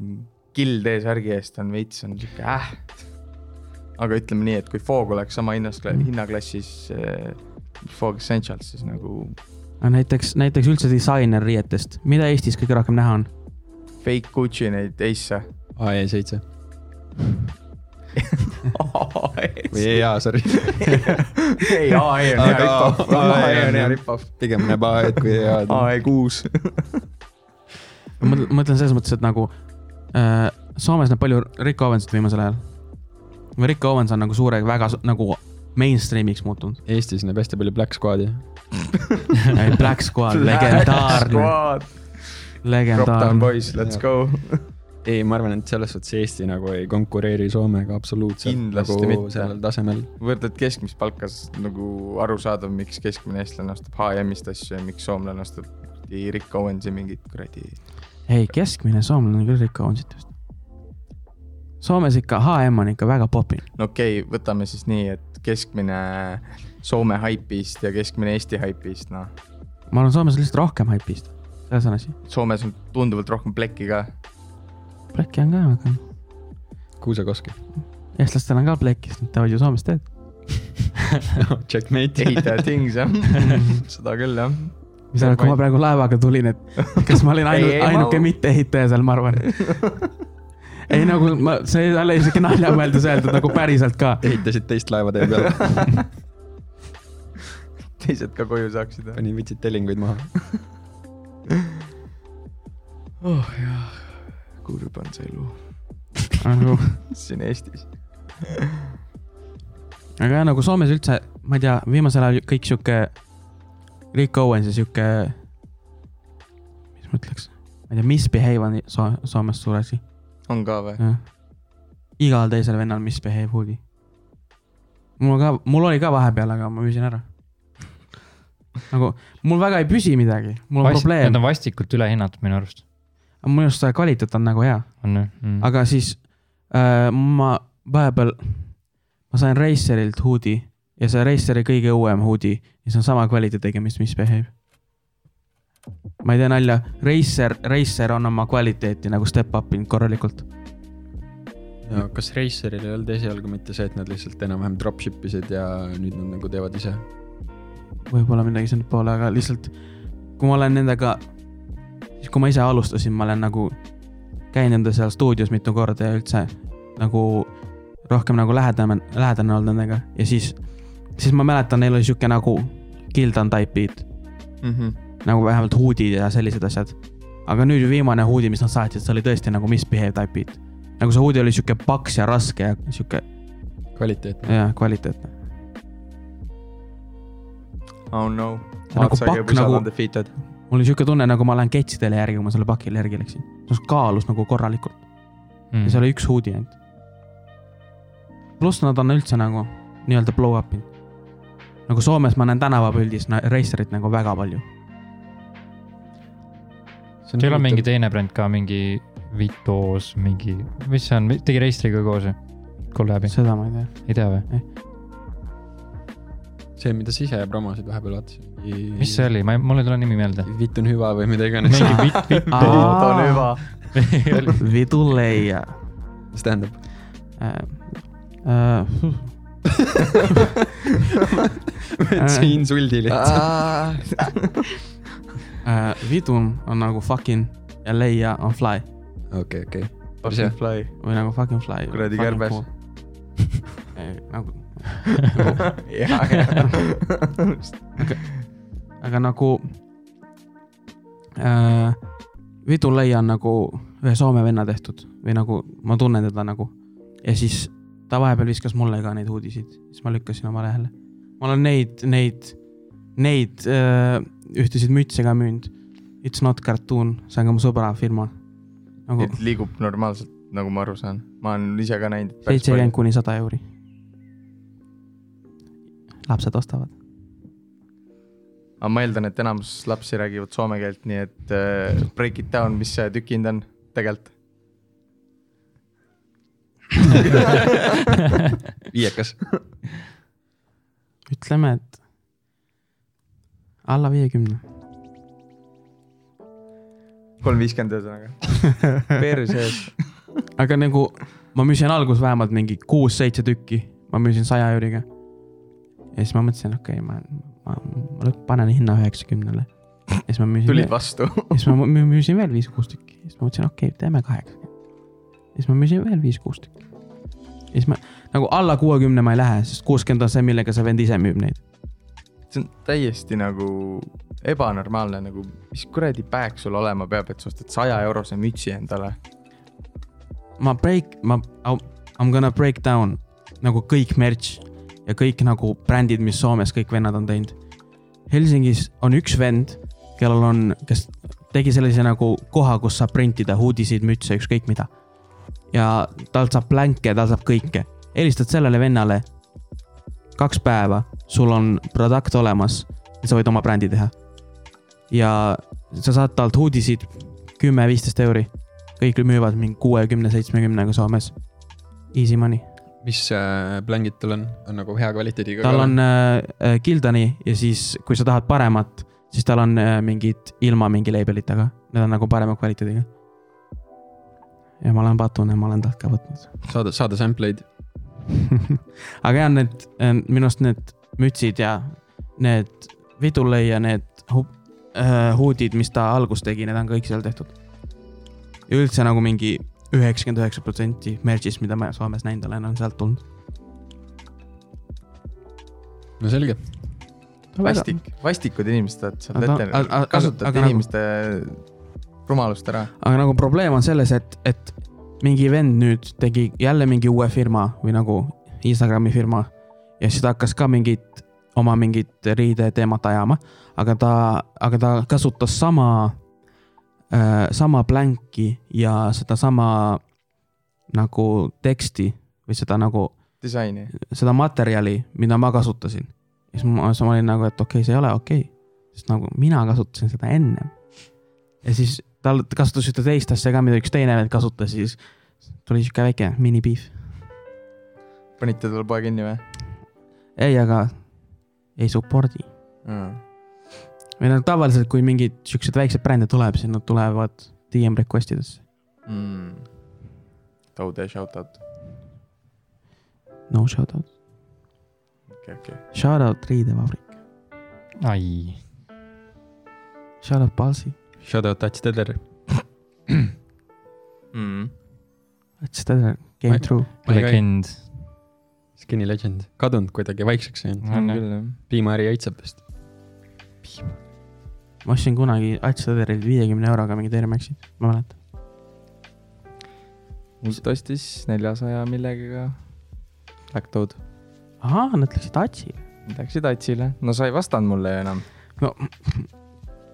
kild eesärgi eest on veits on sihuke äh . aga ütleme nii , et kui Foog oleks sama hinnas , hinnaklassis eh, Foog Essentials , siis nagu aga näiteks , näiteks üldse disainerriietest , mida Eestis kõige rohkem näha on ? fake Gucci neid Ace'e AE7 või ei , EA , sorry . ei , AE on hea Aga- rip-off , AE E on hea rip-off , pigem näeb AE-d kui EA-d . AE kuus . ma mõtlen- ma mõtlen selles mõttes , et nagu äh, Soomes näeb palju Rick Owensit viimasel ajal . või Rick Owens on nagu suure , väga su- nagu mainstream'iks muutunud . Eestis näeb hästi palju Black Squadi . Black Squad , legendaarne ,. Crop Down legendaarne . Boys , let's go . ei , ma arvan , et selles suhtes Eesti nagu ei konkureeri Soomega absoluutselt . Kindlasti nagu mitte. sellel tasemel . võrdled keskmist palka , siis nagu arusaadav , miks keskmine eestlane ostab HM-ist asju ja miks soomlane ostab kuradi Rick Owensi mingit kuradi . ei , keskmine soomlane on küll Rick Owensit vist . Soomes ikka HM on ikka väga popinud . no okei okay, , võtame siis nii , et keskmine Soome haipist ja keskmine Eesti haipist , noh . ma arvan , Soomes on lihtsalt rohkem haipist , selles on asi . Soomes on tunduvalt rohkem plekki ka . plekki on ka väga , kuusekoski . eestlastel on ka plekki , sest nad teevad ju Soomes tööd . Checkmate . ehitaja things jah , seda küll jah . mis arvad , kui ma praegu laevaga tulin , et kas ma olin ainu, Ei, ei, ma- ainuke mitteehitaja seal , ma arvan . ei nagu ma , see ei ole isegi nalja mõeldes öeldud nagu päriselt ka . ehitasid teist laeva tee peale , teised ka koju saaksid . panin vitsid tellinguid maha . oh jah , kurb on see elu aga siin Eestis . aga jah , nagu Soomes üldse , ma ei tea , viimasel ajal kõik sihuke , Rick Owens ja sihuke , mis ma ütleks , ma ei tea , misbehave on so Soomes suur asi . on ka või ? jah . igal teisel vennal misbehave hoodie . mul ka , mul oli ka vahepeal , aga ma müüsin ära . nagu mul väga ei püsi midagi , mul on Need Vast, probleem , on vastikult ülehinnatud minu arust . aga minu arust see kvaliteet on nagu hea , on jah mm. ? aga siis äh, ma vahepeal , ma sain Racerilt hoodie ja see Raceri kõige uuem hoodie , mis on sama kvaliteediga , mis misbehave . ma ei tee nalja , Racer , Racer on oma kvaliteeti nagu step up inud korralikult . kas Raceril ei olnud esialgu mitte see , et nad lihtsalt enam-vähem dropship isid ja nüüd nad nagu teevad ise ? võib-olla midagi sinnapoole , aga lihtsalt kui ma olen nendega , siis kui ma ise alustasin , ma olen nagu , käin nende seal stuudios mitu korda ja üldse nagu rohkem nagu lähedane , lähedane olnud nendega ja siis , siis ma mäletan , neil oli sihuke nagu Gildan type'id , Mhm. nagu vähemalt hoodid ja sellised asjad . aga nüüd viimane hoodi , mis nad saatsid , see oli tõesti nagu misbehave type'id . nagu see hoodi oli sihuke paks ja raske ja sihuke kvaliteetne . jah , kvaliteetne . Oh no . Nagu pakk nagu- mul oli sihuke tunne , nagu ma lähen ketsidele järgi , kui ma selle pakile järgi läksin . see kaalus nagu korralikult ja Mm. seal oli üks hoodie ainult . pluss nad on üldse nagu nii-öelda blow up inud . nagu Soomes ma näen tänavapildis na- racerit nagu väga palju . Teil on mingi teine bränd ka , mingi Vitos , mingi , mis see on , tegi Reistriga koos ju ? kolläbi , seda ma ei tea . ei tea või ? see , mida sa ise promosid vahepeal vaatasid . mis see ? oli , ma ei , mul ei tule nimi meelde . vitt on hüva või mida iganes . mingi Vit , Vit , viduleia . Äh, mis tähendab ? see Äh. insuldi Ah. lihtsalt . äh, vidun on nagu fucking ja leia on fly . okei , okei . Fucking fly . või nagu fucking fly . Kuradi kärbes. . nagu , ja , ja . aga nagu äh, . Vidulei on nagu ühe Soome venna tehtud või nagu ma tunnen teda nagu ja siis ta vahepeal viskas mulle ka neid uudiseid , siis ma lükkasin oma lehele . ma olen neid , neid , neid äh, ühtesid mütse ka müünud . It's not cartoon , see on ka mu sõbra firma . nagu et liigub normaalselt , nagu ma aru saan , ma olen ise ka näinud . seitsekümmend . kuni sada euri . lapsed ostavad . aga ma eeldan , et enamus lapsi räägivad soome keelt , nii et äh, break it down , mis see tükk hind on tegelikult ? viiekas . ütleme , et alla viiekümne . kolm viiskümmend ühesõnaga . perses . aga nagu ma müüsin alguses vähemalt mingi kuus-seitse tükki , ma müüsin saja euriga . ja siis ma mõtlesin , okei okay, , ma, ma , ma lõpp- panen hinna üheksakümnele . ja siis ma müüsin , tulid ja vastu . siis ma mü- müüsin veel viis-kuus tükki , siis ma mõtlesin , okei okay, , teeme kaheksakümmend . ja siis ma müüsin veel viis-kuus tükki . ja siis ma nagu alla kuuekümne ma ei lähe , sest kuuskümmend on see , millega see vend ise müüb neid . see on täiesti nagu ebanormaalne , nagu mis kuradi päev sul olema peab , et sa ostad saja eurose mütsi endale . ma break , ma , I m gonna break down nagu kõik merch ja kõik nagu brändid , mis Soomes kõik vennad on teinud . Helsingis on üks vend , kellel on , kes tegi sellise nagu koha , kus saab printida huudisid , mütse , ükskõik mida . ja talt saab blanke , tal saab kõike , helistad sellele vennale . kaks päeva , sul on product olemas ja sa võid oma brändi teha . ja sa saad talt huudisid kümme , viisteist euri kõik müüvad mingi kuuekümne , seitsmekümnega Soomes . Easy money , mis äh, blängid tal on , on nagu hea kvaliteediga ? tal on äh, Gildani ja siis , kui sa tahad paremat , siis tal on äh, mingid ilma mingi label'itega , need on nagu parema kvaliteediga . ja ma olen patune , ma olen talt ka võtnud . saada , saada sample'id . aga jah , need äh, minu arust need mütsid ja need vidule ja need hu- äh, huudid , mis ta alguses tegi , need on kõik seal tehtud . ja üldse nagu mingi üheksakümmend üheksa protsenti merch'ist , mida ma Soomes näinud olen , on sealt tulnud . no selge , vastik , vastikud inimesed oled seal Aga- ette aga- aga- , kasutate aga nagu- inimeste rumalust ära . aga nagu probleem on selles , et , et mingi vend nüüd tegi jälle mingi uue firma või nagu Instagrami firma ja siis ta hakkas ka mingit oma mingit riideteemat ajama , aga ta , aga ta kasutas sama äh, , sama blanki ja sedasama nagu teksti või seda nagu disaini . seda materjali , mida ma kasutasin . siis ma , siis ma olin nagu , et okei okay, , see ei ole okei okay. . sest nagu mina kasutasin seda ennem . ja siis tal kasutas ühte teist asja ka , mida üks teine vend kasutas , siis tuli sihuke väike mini-beef . panite talle poe kinni või ei , aga ei support'i . mm. ? või noh , tavaliselt kui mingeid siukseid väikseid brände tuleb , siis nad tulevad DM request idesse . Mm. Taude shout out , no shout out , okei , okei . shout out riidevabrik , ai , shout out Palsi . shout out Tats Teder . Mm. seda came Ma- through . legend . Skinny legend , kadunud kuidagi vaikseks jäänud , on küll jah . piimaäri õitseb vist . ma ostsin kunagi Atsederilt viiekümne euroga mingi termexi , ma mäletan . mult ostis neljasaja millegagi Black Toad , ahah , nad läksid Atsi . läksid Atsile , no sa ei vastanud mulle ju enam .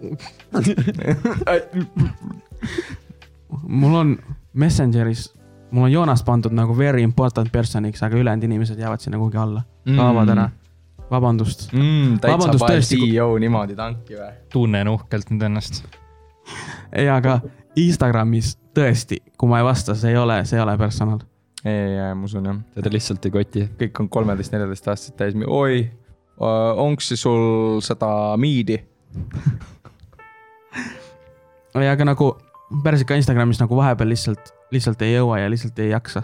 mul on Messengeris , mul on Joonas pandud nagu very important person'iks , aga ülejäänud inimesed jäävad sinna kuhugi alla , kaovad ära . vabandust , mm, . täitsa Vabandust, pael tõesti, kui- CEO niimoodi tanki või ? tunnen uhkelt nüüd ennast . ei , aga Instagramis tõesti , kui ma ei vasta , see ei ole , see ei ole personal . ei , ei , ma usun jah , teda lihtsalt ei koti . kõik on kolmeteist , neljateist aastased täis , oi , onks see sul seda miidi ? ei , aga nagu päris ikka Instagramis nagu vahepeal lihtsalt , lihtsalt ei jõua ja lihtsalt ei jaksa ,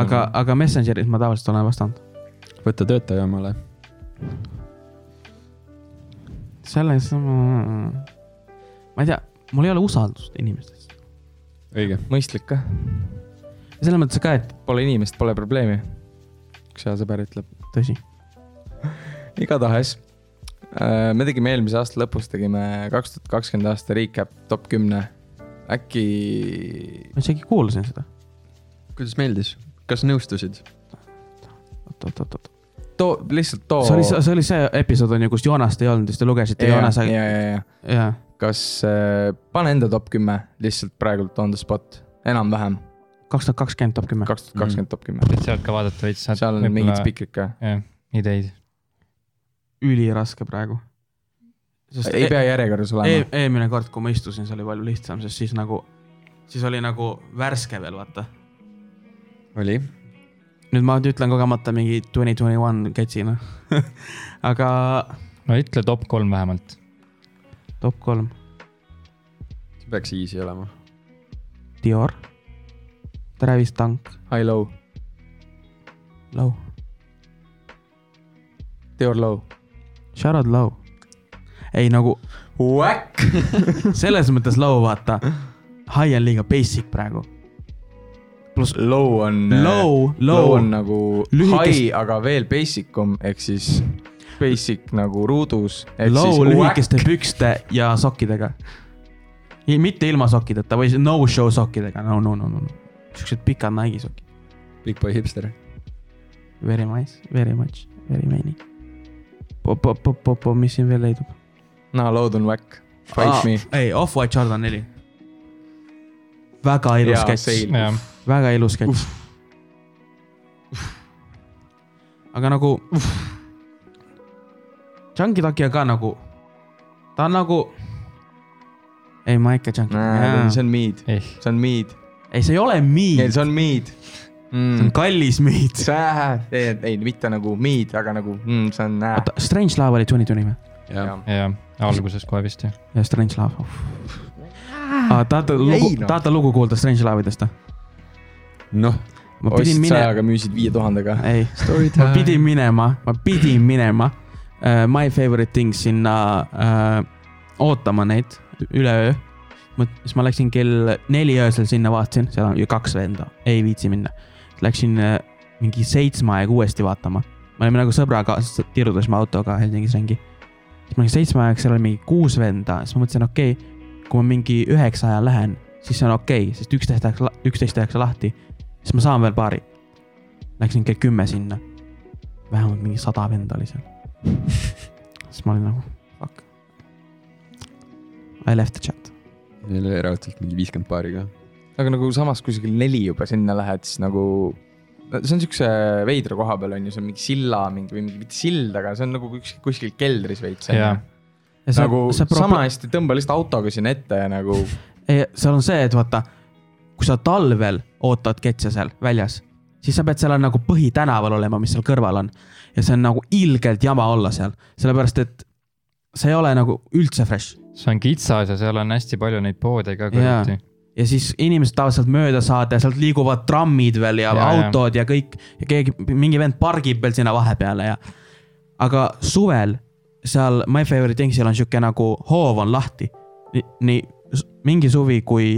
aga , aga Messengeris ma tavaliselt olen vastanud . võta töötaja omale . selles , ma ei tea , mul ei ole usaldust inimestes . õige . mõistlik ka . selles mõttes ka , et pole inimest , pole probleemi . üks hea sõber ütleb . tõsi . igatahes äh, me tegime eelmise aasta lõpus , tegime kaks tuhat kakskümmend aasta recap top kümne . äkki , ma isegi kuulsin seda . kuidas meeldis , kas nõustusid ? oot , oot , oot , oot . too , lihtsalt too . see oli , see oli see episood on ju , kus Joonast ei olnud , siis te lugesite ja , Joonase , ja , ja , ja jaa . kas äh, pane enda top kümme lihtsalt praegult on the spot , enam-vähem , kaks tuhat kakskümmend top kümme . kaks tuhat kakskümmend top kümme . et sealt ka vaadata veits . seal on mingid . spikrid ka , jah , ideid . üliraske praegu . ei pea järjekorras e olema . eelmine kord , kui ma istusin , see oli palju lihtsam , sest siis nagu , siis oli nagu värske veel , vaata . oli . nüüd ma ütlen kogemata mingi twenty twenty one catch'ina . aga no ütle top kolm vähemalt . top kolm , see peaks easy olema . Dior , Travis Tank , High-low , Low , Dior low . Sharad Low . ei nagu Whack . selles mõttes low , vaata . High on liiga basic praegu . pluss low on . äh, Low , low low on . nagu Lühikest- Lühikest... high , aga veel basic um ehk siis basic nagu ruudus . Low lühikeste pükste ja sokkidega . mitte ilma sokkideta või no-show sokkidega , no , no , no , no , no . siuksed pikad Nike sokid . Big boy hipster . Very nice , very much , very many . mis siin veel leidub ? no load on whack , fight ah, me . ei , Off-White Jordan neli . väga ilus Jaa, sketš sale. , jah , väga ilus sketš . aga nagu . Chunky Taki on ka nagu , ta on nagu . ei , ma ikka Chunky see Taki . on mid , ehk see on mid , ei , see ei ole ei mead , see on mid see on mm. . kallis mead . Sää , ei , ei mitte nagu mid , aga nagu mm, see on äh. . oota , Strange Love oli Twenty Twenty või ? jah , ja alguses kohe vist jah . ja Strange Love oh. . tahate lugu Jäi, , noh. tahate lugu kuulda Strange Love'idest või ? noh . ma pidin ostsid minema , sajaga , müüsid viie tuhandega . ei , Story ma pidin minema , ma pidin minema uh, My Favorite Things sinna uh, ootama neid üleöö . siis ma läksin kell neli öösel sinna , vaatasin , seal on ju kaks venda , ei viitsi minna . Läksin uh, mingi seitsme aega uuesti vaatama . me olime nagu sõbraga , tirutasime autoga Helsingis ringi . siis ma olin seitsme aega , seal oli mingi kuus venda , siis ma mõtlesin , okei okay, , kui ma mingi üheksa ajal lähen , siis see on okei okay, , sest üksteist tehakse , üksteist tehakse lahti , siis ma saan veel paari . Läksin kell kümme sinna . vähemalt mingi sada venda oli seal . siis ma olin nagu fuck . I left the chat . Neil oli raudselt mingi viiskümmend paari ka . aga nagu samas , kui sa kell neli juba sinna lähed , siis nagu . see on siukse veidra koha peal on ju , see on mingi silla mingi või mingi mitte sild , aga see on nagu kuskil, kuskil keldris veits . Jaa. nagu sama . hästi tõmba lihtsalt autoga sinna ette ja nagu seal on see , et vaata , kui sa talvel ootad ketse seal väljas , siis sa pead seal nagu põhitänaval olema , mis seal kõrval on . ja see on nagu ilgelt jama olla seal , sellepärast et see ei ole nagu üldse fresh see on kitsas ja seal on hästi palju neid poode ka Jaa. kõrvuti . ja siis inimesed tahavad sealt mööda saada ja sealt liiguvad trammid veel ja, ja Ja, ja. autod ja. ja kõik ja keegi , mingi vend pargib veel sinna vahepeale ja . aga suvel seal My Favorite Things'il on sihuke nagu hoov on lahti . nii s- mingi suvi , kui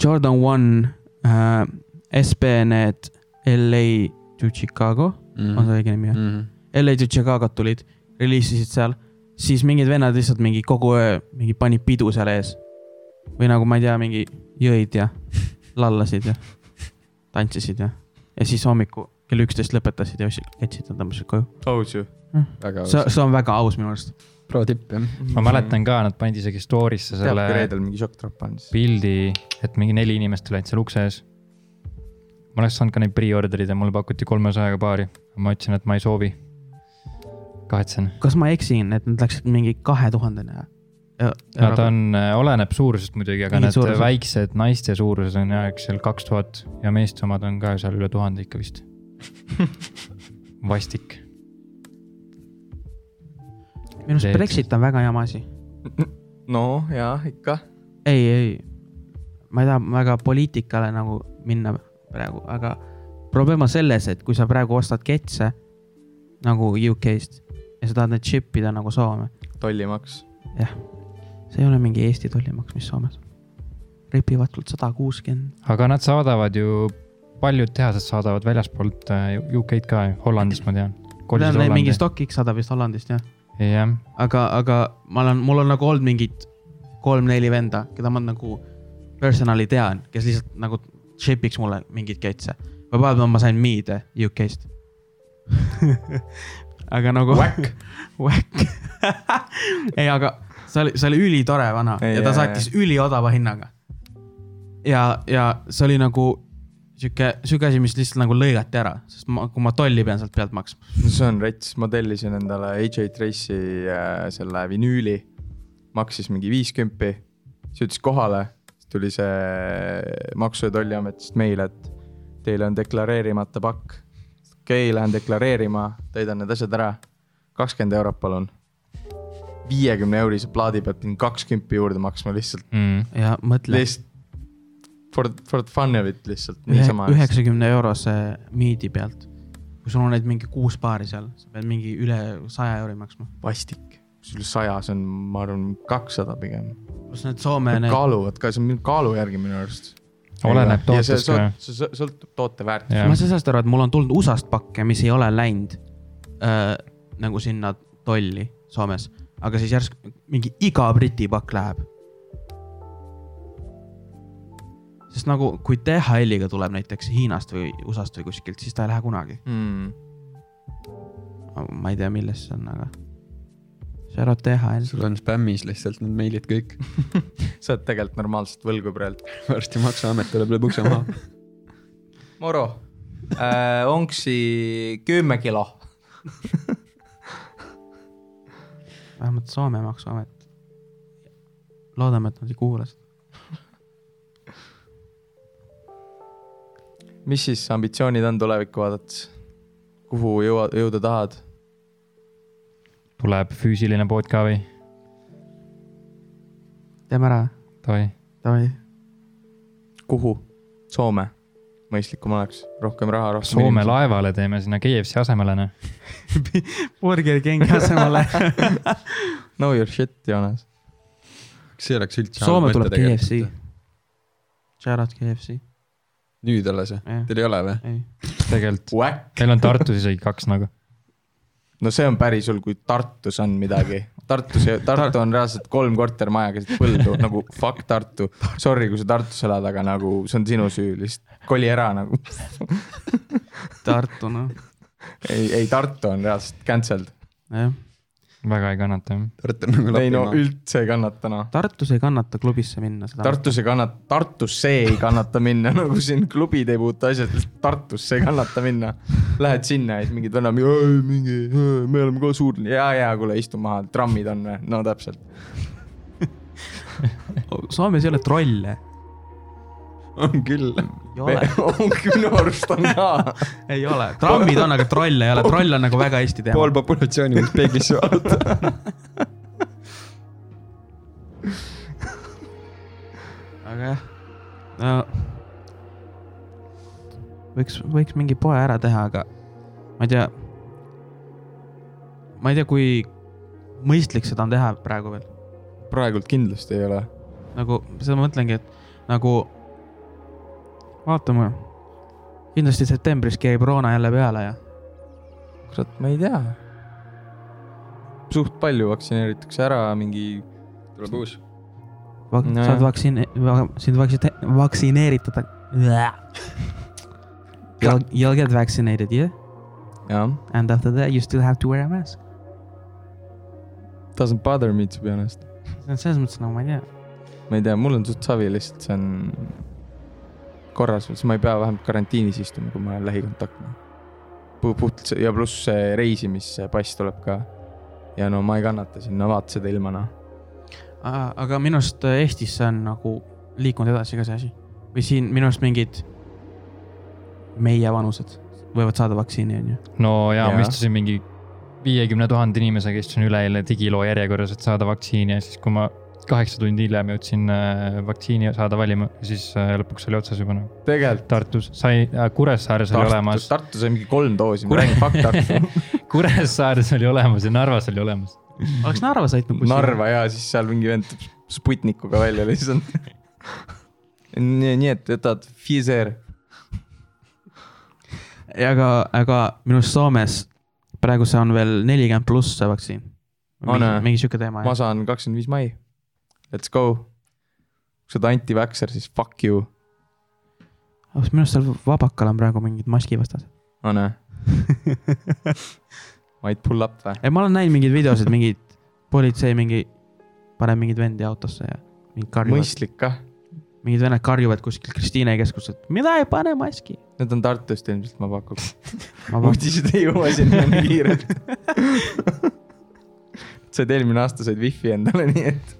Jordan One äh, , SB need LA to Chicago Mhm. mm. , on see õige nimi jah ? LA to Chicago't tulid , reliisisid seal , siis mingid vennad lihtsalt mingi kogu öö mingi panid pidu seal ees . või nagu ma ei tea , mingi jõid ja lallasid ja tantsisid ja , ja siis hommikul kell üksteist lõpetasid ja ostsid , jätsid nad tõmbasid koju . Oh, aus ju . väga see , see on väga aus minu arust . pro tipp jah . ma mäletan ka , nad pandi isegi story'sse selle . selle Mhm. reedel mingi šokktropp on siis . pildi , et mingi neli inimest olid seal ukse ees . ma oleks saanud ka neid pre-order'id ja mulle pakuti kolmesajaga paari , ma ütlesin , et ma ei soovi . kahetsen . kas ma eksin , et nad läksid mingi kahe tuhandena ? Nad on , oleneb suurusest muidugi , aga Mingid need suurused. suurused. väiksed naiste suurused on jah , eks seal kaks tuhat ja meeste omad on ka seal üle tuhande ikka vist . vastik , minu arust Leed. Brexit on väga jama asi . no jaa , ikka . ei , ei , ma ei taha väga poliitikale nagu minna praegu , aga probleem on selles , et kui sa praegu ostad ketse nagu UK-st ja sa tahad need ship ida nagu Soome , tollimaks . see ei ole mingi Eesti tollimaks , mis Soomes . repivad sult sada kuuskümmend . aga nad saadavad ju , paljud tehased saadavad väljaspoolt äh, UK-d ka ju , Hollandist ma tean . mingi StockX saadab vist Hollandist jah , jah , aga , aga ma olen , mul on nagu olnud mingid kolm-neli venda , keda ma nagu personali tean , kes lihtsalt nagu ship'iks mulle mingeid ketse . vahepeal ma sain miide UK-st . aga nagu . Whack. . Whack . ei , aga see oli , see oli ülitore vana Ei, ja ta jaa, saatis üliodava hinnaga . ja , ja see oli nagu sihuke , sihuke asi , mis lihtsalt nagu lõigati ära , sest ma , kui ma tolli pean sealt pealt maksma . no see on rets , ma tellisin endale AJ Trace'i äh, selle vinüüli , maksis mingi viiskümpi , see jõudis kohale , siis tuli see Maksu- ja Tolliametist meil , et teil on deklareerimata pakk . okei okay, , lähen deklareerima , täidan need asjad ära , kakskümmend eurot palun . viiekümne eurise plaadi pealt pidin kakskümmend juurde maksma lihtsalt , mm. . ja mõtle , lihtsalt for , for the fun of it lihtsalt , niisama . üheksakümne eurose miidi pealt . kui sul on neid mingi kuus paari seal , sa pead mingi üle saja euri maksma . vastik , sul sajas on , ma arvan , kakssada pigem pluss need Soome Need... need , kaaluvad ka , see on minu- kaalu järgi minu arust . oleneb tootest ka . see sõ- sõltub toote väärtusest . ma ei jah , saa sellest aru , et mul on tulnud USA-st pakke , mis ei ole läinud äh, nagu sinna tolli Soomes , aga siis järsku mingi iga Briti pakk läheb . sest nagu , kui DHL-iga tuleb näiteks Hiinast või USA-st või kuskilt , siis ta ei lähe kunagi . Mm. ma ei tea , milles see on , aga . see arvab DHL . sul on spämmis lihtsalt need meilid kõik . sa oled tegelikult normaalselt võlgu praegu . varsti Maksuamet tuleb lööb ukse maha . Moro äh, , onksi kümme kilo . vähemalt Soome maksuamet . loodame , et nad ei kuula seda . mis siis ambitsioonid on tulevikku vaadates ? kuhu jõua , jõuda tahad ? tuleb füüsiline pood ka või ? teeme ära , tohi . davai . kuhu ? Soome , mõistlikum oleks , rohkem raha , rohkem . Soome . laevale teeme sinna KFC asemele , noh . Burger Kingi asemele . Know your shit , Joonas . kas see oleks üldse ? Soome tuleb KFC . Shout out KFC , nüüd alles või ? jah , Teil ei ole või ? ei . tegelikult Whack . meil on Tartus isegi kaks nagu . no see on päris hull , kui Tartus on midagi . Tartus , Tartu on reaalselt kolm kortermaja keset põldu nagu fuck Tartu . Sorry , kui sa Tartus elad , aga nagu see on sinu süü , lihtsalt koli ära nagu . Tartu noh , ei , ei Tartu on reaalselt cancelled . jah . väga ei kannata , jah . Tartu on nagu ei no Lapimaa . üldse ei kannata noh . Tartus ei kannata klubisse minna seda . Tartus ei kannata , Tartusse ei kannata minna , nagu siin klubid ei puutu asjad , Tartusse ei kannata minna . Lähed sinna ja siis mingid vennad , mingi , me oleme ka suured , ja , ja kuule , istu maha , trammid on või , no täpselt . Soomes ei ole trolle . on küll . ei ole , minu arust on ka ei ole , trammid on , aga trolle ei ole , troll on nagu väga Eesti teema pool . populatsiooni võiks peeglisse vaadata . aga jah , no võiks , võiks mingi poe ära teha , aga ma ei tea . ma ei tea , kui mõistlik seda on teha praegu veel , praegult kindlasti ei ole . nagu seda ma mõtlengi , et nagu vaatame . kindlasti septembris kerib Roona jälle peale ja kurat , ma ei tea . suht palju vaktsineeritakse ära mingi , tuleb uus . vak- Nojah. saad vaktsiini , sind vaktsite- , vaktsineeritada . You'll , you'll get vaccinated yeah jah . and after that you still have to wear a mask . Doesn't bother me to be honest . see on selles mõttes nagu ma ei tea , ma ei tea , mul on suht savi lihtsalt , see on korras , siis ma ei pea vähemalt karantiinis istuma , kui ma olen lähikontaktne . puhtalt see- ja pluss see reisimispass tuleb ka . ja no ma ei kannata sinna vaatuse ilma noh . aga minu arust Eestis see on nagu liikunud edasi ka see asi või siin minu arust mingid meie vanused võivad saada vaktsiini , on ju . no jaa ja. , Jaa. ma istusin mingi viiekümne tuhande inimesega , istusin üleeile digiloo järjekorras , et saada vaktsiini ja siis , kui ma kaheksa tundi hiljem jõudsin äh, vaktsiini saada valima , siis äh, lõpuks oli otsas juba nagu . tegelikult Tartus sai , Kuressaares oli Tartu, olemas , Tartu sai mingi kolm doosi , ma Kurat. räägin fuck Tartu . Kuressaares oli olemas ja Narvas oli olemas . oleks Narva sõitnud . Narva ja siis seal mingi vend tuleb Sputnikuga välja lihtsalt . Нет, этот Fizer , aga , aga minu arust Soomes praegu see on veel nelikümmend pluss see vaktsiin . On, mingi jah? mingi sihuke teema ma jah . saan kakskümmend viis mai . Let's go . kui sa oled anti-vaxxer , siis fuck you , minu arust seal Vabakal on praegu mingid maskivastased . on ju . Might pull up või ? ei , ma olen näinud mingeid videosid , mingid politsei mingi , paneb mingeid vendi autosse ja mingid karjuvad , mõistlik kah . mingid vennad karjuvad kuskil Kristiine keskuses , et mina ei pane maski . Need on Tartust ilmselt , ma pakuks . uudised ei jõua sinna nii kiirelt . said eelmine aasta said wifi endale , nii et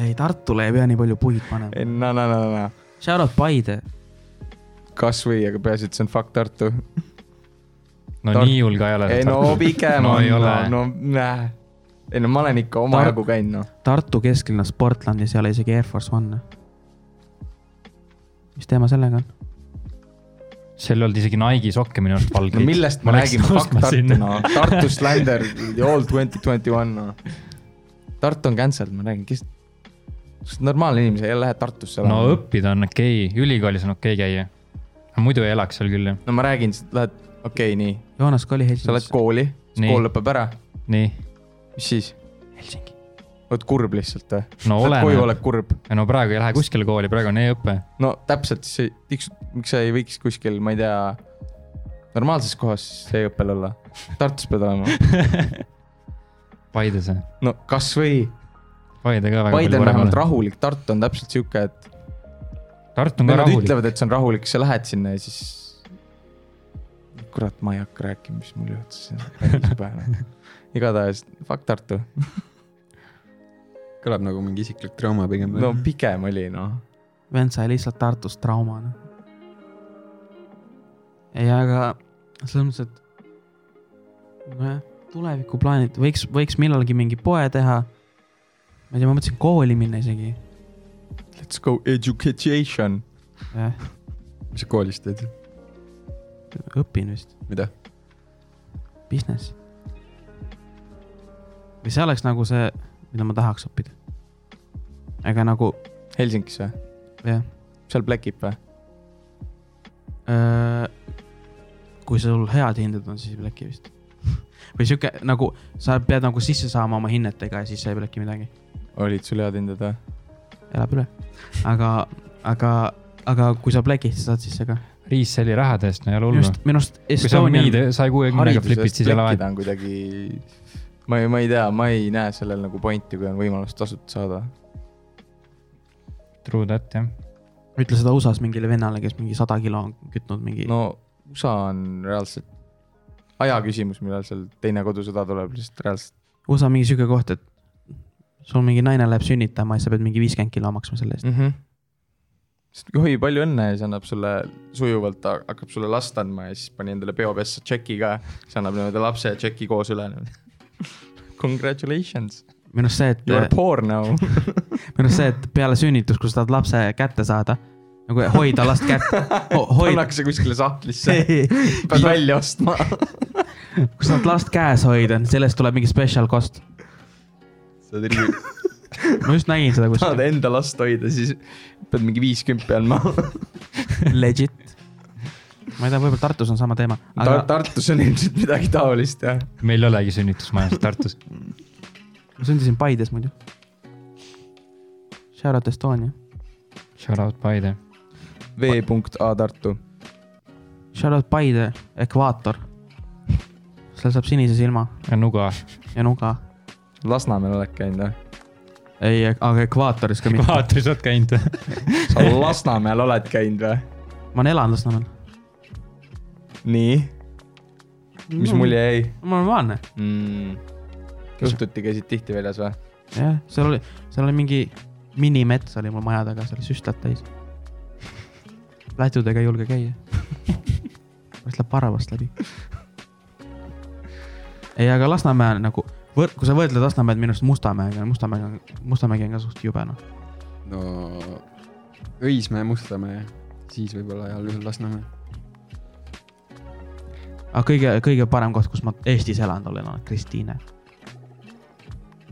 ei , Tartule ei pea nii palju puid panema . ei, no , no , no , no , Shout out Paide . kasvõi , aga peaasi , et see on fuck Tartu . no Tart- Tart... nii hull ka ei ole . ei no pigem no, on , ei no, ole no, . no näe . ei no ma olen ikka omajagu käinud , noh . Tartu kesklinnas Portlandis ei ole isegi Air Force One'e . mis teema sellega on ? No. seal ei olnud isegi Nike'i sokke minu arust valgeid no millest me räägime , fuck Tartu , noh . Tartu Slander , the all twenty twenty one , noh . Tartu on cancelled , ma räägin , kes . kas normaalne inimene ei lähe Tartusse no ? õppida on okei okay. , ülikoolis on okei okay käia . muidu ei elaks seal küll ju , no ma räägin , sa lähed , okei okay, , nii , Joonas ka oli sa lähed Helsingis . kooli , Nii. kool lõpeb ära , nii . mis siis ? Helsingi . oled kurb lihtsalt või ? no koju oleneb , oled kurb . no praegu ei lähe kuskile kooli , praegu on e-õpe . no täpselt , siis ei , miks , miks sa ei võiks kuskil , ma ei tea , normaalses kohas see õppel olla ? Tartus pead olema , Paides , no kasvõi , Paide ka väga Paide on vähemalt ole. rahulik , Tartu on täpselt sihuke , et Tartu on Või ka nad rahulik , ütlevad , et see on rahulik , sa lähed sinna ja siis . kurat , ma ei hakka rääkima , mis mul juhtus , see on päris jube noh. igatahes fuck Tartu , kõlab nagu mingi isiklik trauma pigem no . pigem oli noh , vend sai lihtsalt Tartus trauma , noh . ei , aga selles mõttes , et nojah , tulevikuplaanid võiks , võiks millalgi mingi poe teha . ma ei tea , ma mõtlesin kooli minna isegi , let's go education . jah , mis sa koolis teed ? õpin vist , mida ? business . või see oleks nagu see , mida ma tahaks õppida . aga nagu Helsingis või , jah , seal plekib või ? äh, kui sul head hinded on , siis ei pleki vist . või sihuke nagu sa pead nagu sisse saama oma hinnetega ja siis sa ei pleki midagi . olid sul head hinded või ? elab üle . aga , aga , aga kui sa plekist saad sisse ka . riisseli rahade eest , no ei ole minu hullu . arust , minu arust kui sa Estonian , müüd saja kuuekümnega flipid , siis ei ole vahet . plekida on kuidagi , ma ei , ma ei tea , ma ei näe sellel nagu pointi , kui on võimalus tasuta saada . True that jah . ütle seda USA-s mingile vennale , kes mingi sada kilo on kütnud mingi no. . no USA on reaalselt aja küsimus , millal seal teine kodusõda tuleb , lihtsalt reaalselt . USA mingi sihuke koht , et sul mingi naine läheb sünnitama ja sa pead mingi viiskümmend kilo maksma selle eest . mm . -hmm. sest oi , palju õnne ja siis annab sulle sujuvalt , hakkab sulle last andma ja siis pani endale peopessa tšeki ka , siis annab niimoodi lapse ja tšeki koos üle . Congratulations , minu arust see , et , you are minu poor now . arust see , et peale sünnitust , kui sa tahad lapse kätte saada , nagu hoida last kätte ho , hoida . pannakse kuskile sahtlisse , pead kui välja ostma . sa tahad last käes hoida , sellest tuleb mingi special cost . sa oled riigi , ma just nägin seda tahad kuskil , enda last hoida , siis pead mingi viiskümmend andma . eh? legit . ma ei tea , võib-olla Tartus on sama teema , aga Tartus on ilmselt midagi taolist jah . meil ei olegi sünnitusmajas Tartus . ma sündisin Paides muidu . Shout out Estonia , Shout out Paide . V.A Tartu . shout out Paide , ekvaator . seal saab sinise silma Nuga . ja nuga . Lasnamäel oled käinud või ? ei , aga ekvaatoris ka mitte . vaatris oled käinud või ? sa Lasnamäel oled käinud või ? ma olen elanud Lasnamäel . nii , mis mulje jäi ? ma olen vaene , mm. . õhtuti käisid tihti väljas või ? jah , seal oli , seal oli mingi minimets oli mul maja taga , seal oli süstlad täis . Lätudega ei julge käia . pärast läheb varavast läbi . ei , aga Lasnamäe nagu , kui sa võrdled Lasnamäed minu arust Mustamäega , Mustamäega , Mustamägi on ka suht jube noh . no Õismäe , Mustamäe , siis võib-olla heal juhul Lasnamäe . aga kõige , kõige parem koht , kus ma Eestis elanud olen , on Kristiine .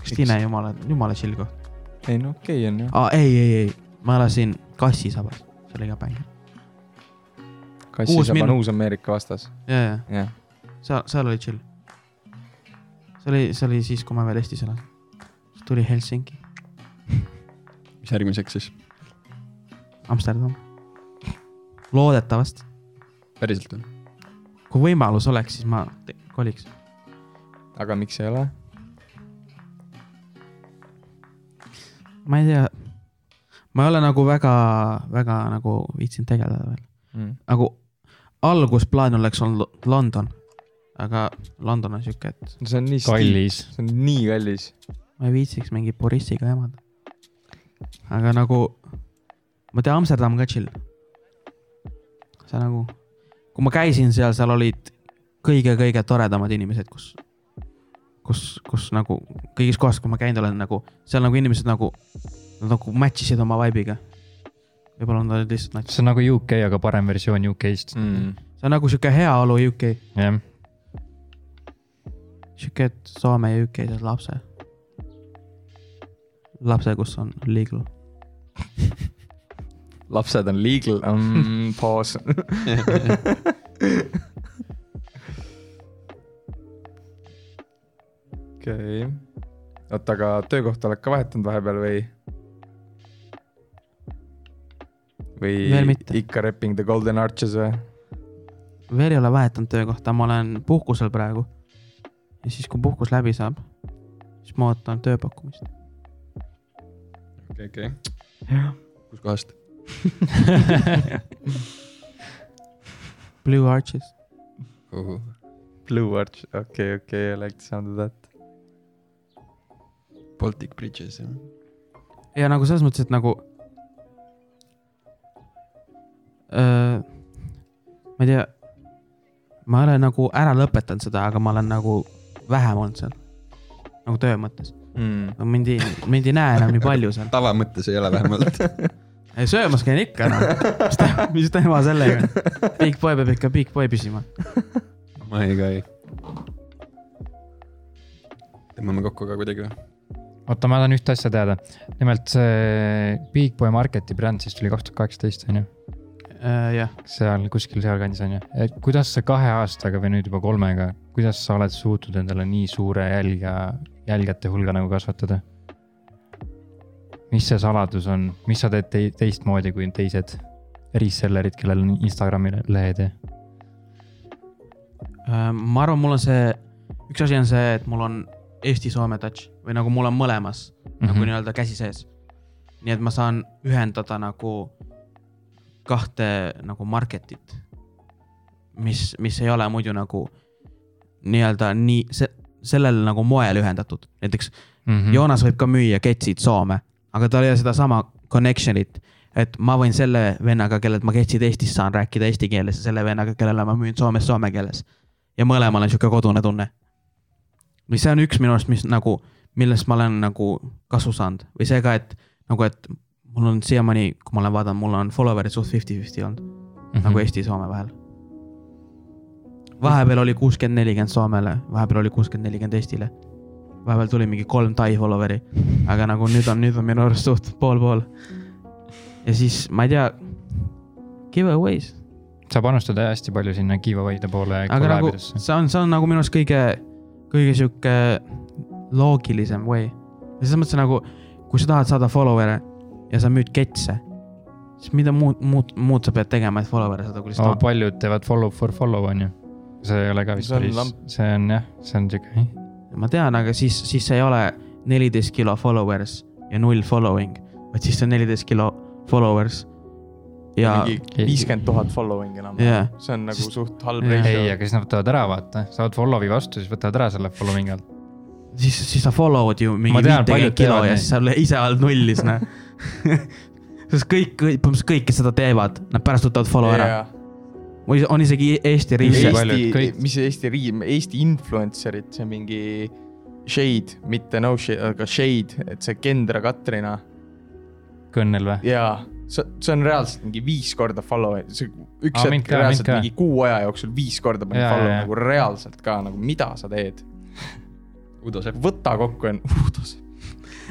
Kristiine jumala , jumala chill koht . ei no okei okay, on ju . aa , ei , ei , ei , ma elasin kassisabas , see oli ka päng . Uus kassis minu- on uus Ameerika vastas , ja , ja jah . seal , seal oli chill . see oli , see oli siis , kui ma veel Eestis elasin . siis tuli Helsingi , mis järgmiseks siis , Amsterdam . loodetavasti , päriselt või ? kui võimalus oleks , siis ma te- koliks . aga miks ei ole ? ma ei tea , ma ei ole nagu väga , väga nagu viitsinud tegeleda veel . Mm. nagu algusplaan oleks olnud Lo- London , aga London on sihuke , et see on nii stiil- kallis . see on nii kallis . ma ei viitsiks mingi puristiga jamada . aga nagu , ma tean , Amsterdam on ka chill . see nagu , kui ma käisin seal , seal olid kõige-kõige toredamad inimesed , kus , kus , kus nagu kõigis kohas , kui ma käinud olen , nagu seal nagu inimesed nagu , nagu match isid oma vibe'iga . võib-olla nad olid lihtsalt natsid , see on nagu UK , aga parem versioon UK-st . Mm. see on nagu sihuke heaolu UK , jah , sihuke et Soome ja UK tead lapse . lapse , kus on legal . lapsed on legal um, , pause . okei , oota , aga töökohta oled ka vahetanud vahepeal või ? Veel või mitte. ikka repping the golden arches või ? veel ei ole vahetanud töökohta , ma olen puhkusel praegu . ja siis , kui puhkus läbi saab , siis ma ootan tööpakkumist . okei , okei . jah . kuskohast ? Blue Arches , Blue arch , okei , okei , I like the sound of that . Baltic Bridges , jah . ja nagu selles mõttes , et nagu öö, . ma ei tea , ma ei ole nagu ära lõpetanud seda , aga ma olen nagu vähem olnud seal , nagu töö mõttes . Mm. no mind ei , mind ei näe enam nii palju seal , tava mõttes ei ole vähemalt . söömas käin ikka noh , mis te- mis teema sellega , Big Boy peab ikka Big Boy püsima . ma ei , ka ei . tõmbame kokku ka kuidagi või ? oota , ma tahan ühte asja teada . nimelt see Big Boy Marketi bränd siis tuli kaks tuhat kaheksateist , on ju . Äh, jah , seal kuskil sealkandis on ju , et kuidas sa kahe aastaga või nüüd juba kolmega , kuidas sa oled suutnud endale nii suure jälgija , jälgijate hulga nagu kasvatada ? mis see saladus on , mis sa teed tei- teistmoodi kui teised resellerid , kellel on Instagrami le- lehed ja , Äh, ma arvan , mul on see , üks asi on see , et mul on Eesti-Soome touch või nagu mul on mõlemas mm -hmm. Mhm. nagu nii-öelda käsi sees . nii et ma saan ühendada nagu kahte nagu market'it , mis , mis ei ole muidu nagu nii-öelda nii se, sellel nagu moel ühendatud , näiteks mm -hmm. Joonas võib ka müüa ketsid Soome , aga tal ei ole sedasama connection'it , et ma võin selle vennaga , kellelt ma ketsid Eestis saan , rääkida eesti keeles ja selle vennaga , kellele ma müün Soomes soome keeles . ja mõlemal on sihuke kodune tunne . või see on üks minu arust , mis nagu , millest ma olen nagu kasu saanud või see ka , et nagu , et mul on siiamaani , kui ma olen vaadanud , mul on follower'id suht fifty-fifty olnud mm -hmm. Mhm. nagu Eesti ja Soome vahel . vahepeal oli kuuskümmend , nelikümmend Soomele , vahepeal oli kuuskümmend , nelikümmend Eestile . vahepeal tuli mingi kolm Tai follower'i , aga nagu nüüd on , nüüd on minu arust suht pool-pool . ja siis ma ei tea , giveaways , sa panustad hästi palju sinna giveaway'de poole ja aga nagu kollabidesse see on , see on nagu minu arust kõige , kõige sihuke loogilisem way . ja selles mõttes nagu , kui sa tahad saada follower'e ja sa müüd ketse , siis mida muud , muud , muud sa pead tegema , et follower'e saada , kui nagu... . lihtsalt oh, paljud teevad follow for follow on ju , see ei ole ka vist See on päris lamp. , see on jah , see on siuke , ma tean , aga siis , siis see ei ole neliteist kilo followers ja null following , vaid siis see on neliteist kilo followers ja mingi viiskümmend tuhat following enam Jah. see on nagu Sest- suht halb Jah. ei , ratio . aga siis nad võtavad ära , vaata , saavad follow'i vastu , siis võtavad ära selle following alt . siis , siis sa follow'd ju mingi Ma tean, paljud viitekümmet kilo teevad ja nii. siis sa oled ise oled nullis , noh . sest kõik , põhimõtteliselt kõik , kes seda teevad , nad pärast võtavad follow ära . või on isegi Eesti Nii riigis . paljud Eesti kõik- , mis see Eesti riim , Eesti influencer'id , see on mingi shade , mitte no shade , aga shade , et see Kendra Katrina kõnnel või ? ja see , see on reaalselt mingi viis korda follow , see üks Aa, ah, mind hetk ka, reaalselt mind ka. mingi kuu aja jooksul viis korda pani Jaa, follow jaa, jaa. nagu reaalselt ka nagu mida sa teed , Udo Sepp . võta kokku ja .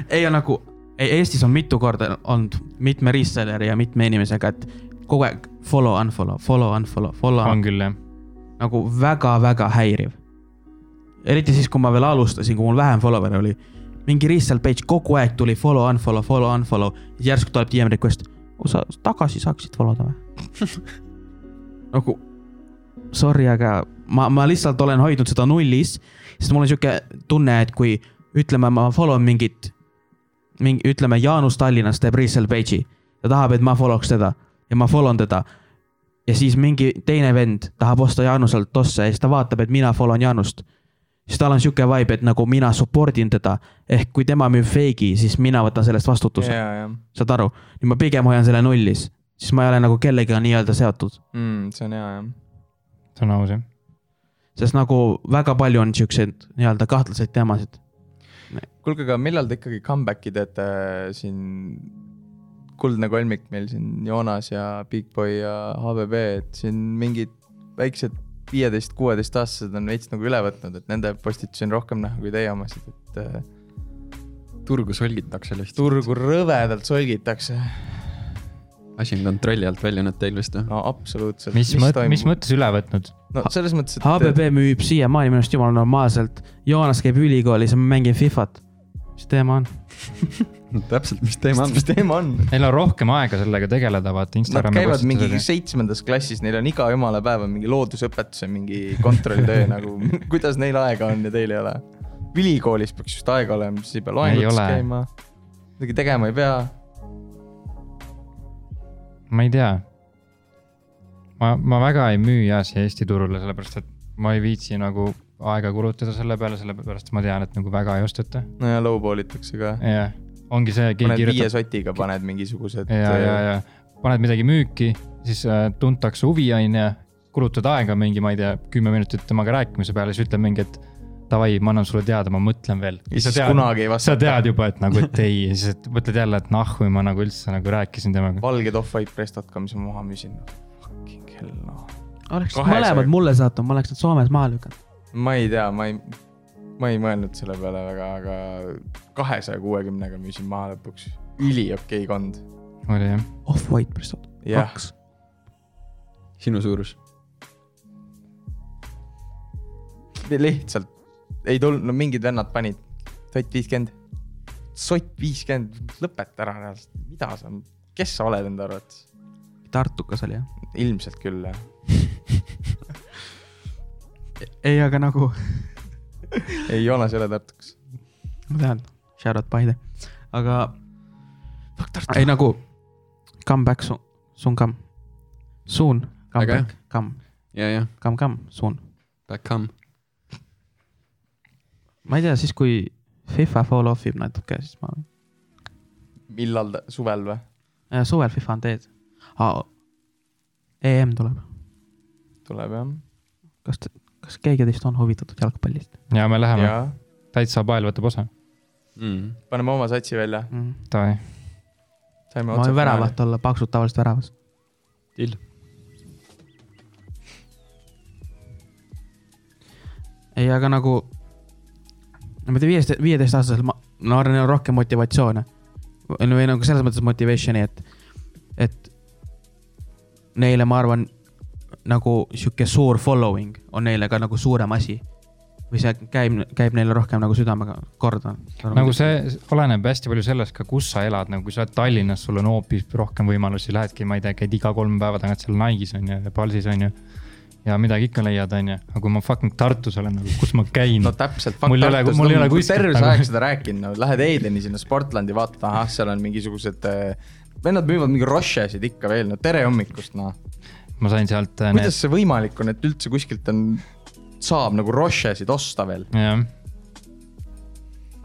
ei , nagu Eestis on mitu korda olnud mitme reselleri ja mitme inimesega , et kogu aeg follow , unfollow , follow , unfollow , follow on , küll jah . nagu väga-väga häiriv . eriti siis , kui ma veel alustasin , kui mul vähem follower'e oli . mingi resell page kogu aeg tuli follow , unfollow , follow , unfollow , järsku tuleb DM request . sa tagasi saaksid follow da või ? nagu sorry , aga ma , ma lihtsalt olen hoidnud seda nullis , sest mul on sihuke tunne , et kui ütleme , ma follow n mingit , mingi , ütleme , Jaanus Tallinnas teeb resell page'i . ta tahab , et ma follow'ks teda ja ma follow n teda ja siis mingi teine vend tahab osta Jaanuselt tosse ja siis ta vaatab , et mina follow n Jaanust . siis tal on sihuke vibe , et nagu mina support in teda , ehk kui tema müüb fake'i , siis mina võtan sellest vastutuse yeah. , ja , ja saad aru . nii ma pigem hoian selle nullis , siis ma ei ole nagu kellegagi nii-öelda seotud , mm, , see on hea jah . see on aus jah . sest nagu väga palju on siukseid nii-öelda kahtlaseid teemasid . kuulge , aga millal te ikkagi comeback'i teete äh, siin , kuldne kolmik meil siin Joonas ja Big Boy ja HVB , et siin mingid väiksed viieteist , kuueteist aastased on veits nagu üle võtnud , et nende postitusi on rohkem näha kui teie omasid , et äh, turgu solgitakse lihtsalt . turgu rõvedalt solgitakse . asi on kontrolli alt välja nüüd teil vist või ? no absoluutselt . mis mõttes , mis ? mõttes üle võtnud ? no selles mõttes , et HBB müüb siiamaani minu arust jumala normaalselt , Joonas käib ülikoolis ja ma mängin Fifat . mis teema on ? täpselt , mis teema on mis ? teema on ? Neil on rohkem aega sellega tegeleda , vaata Nad Instagrami käivad mingi . seitsmendas klassis , neil on iga jumala päev on mingi loodusõpetuse mingi kontrolltöö nagu , kuidas neil aega on ja teil ei ole . ülikoolis peaks just aega olema , siis ei pea loengutes ole. käima . midagi tegema ei pea . ma ei tea . ma , ma väga ei müü jaa siia Eesti turule , sellepärast et ma ei viitsi nagu aega kulutada selle peale , sellepärast et ma tean , et nagu väga ei osteta . no ja low-ball itakse ka . jah , ongi see , keegi paned kirjutab viie sotiga , paned mingisugused . äh, ja , ja , ja paned midagi müüki , siis äh, tuntakse huvi , on ju , kulutad aega mingi , ma ei tea , kümme minutit temaga rääkimise peale , siis ütleb mingi , et davai , ma annan sulle teada , ma mõtlen veel . ja siis kunagi ei sa vastata . tead juba , et nagu , et ei , ja siis et mõtled jälle , et noh , või ma nagu üldse nagu rääkisin temaga . valged off-white pressed ka , mis ma maha müüsin . Fucking hell noh . oleks Kahesaja- mõlemad mulle saatnud , ma oleks nad Soomes maha lükanud . ma ei tea , ma ei , ma ei mõelnud selle peale väga , aga kahesaja kuuekümnega müüsin maha lõpuks . üli okei kond . oli jah , Off-white pressud , jah , kaks . sinu suurus . lihtsalt ei tulnud , no mingid vennad panid sott viiskümmend , sott viiskümmend , lõpeta ära , mida sa , kes sa oled enda arvates ? Tartukas oli jah ? ilmselt küll jah , ei , aga nagu , ei Joonas ei ole Tartukas . ma tean , shout out Paide , aga . ei nagu , come back soon , soon come , soon , come Väga hea. back , come , ja , ja , come , come , soon . back home . ma ei tea , siis kui FIFA fall off ib natuke , siis ma , millal , suvel või ? Äh, suvel FIFA on teed . EM tuleb , tuleb jah ? kas , kas keegi teist on huvitatud jalgpallist ja me läheme , jaa , täitsa pael võtab osa . Mm. paneme oma satsi välja . mm. ? Davai , saime ma võin . väravat olla , paksud tavaliselt väravas . Deal. . ei , aga nagu , ma ei tea , viieteist , viieteist-aastaselt ma , ma arvan , neil on rohkem motivatsioone . või nagu selles mõttes motivation'i , et , et neile , ma arvan , nagu sihuke suur following on neile ka nagu suurem asi . või see käib , käib neile rohkem nagu südamega korda . nagu see oleneb hästi palju sellest ka , kus sa elad , nagu kui sa oled Tallinnas , sul on hoopis rohkem võimalusi , lähedki , ma ei tea , käid iga kolm päeva tagant seal Nike'is on ju ja Palsis on ju . ja midagi ikka leiad , on ju , aga kui ma fucking Tartus olen , nagu kus ma käin no , täpselt . Mul ei ole- mul ei ole kuskilt terve nagu- see aeg seda rääkinud , no lähed Edeni sinna Sportlandi , vaatad , ahah , seal on mingisugused äh, vennad müüvad mingi rošesid ikka veel , no tere hommikust , noh . ma sain sealt äh, need kuidas see võimalik on , et üldse kuskilt on , saab nagu rošesid osta veel ? jah ,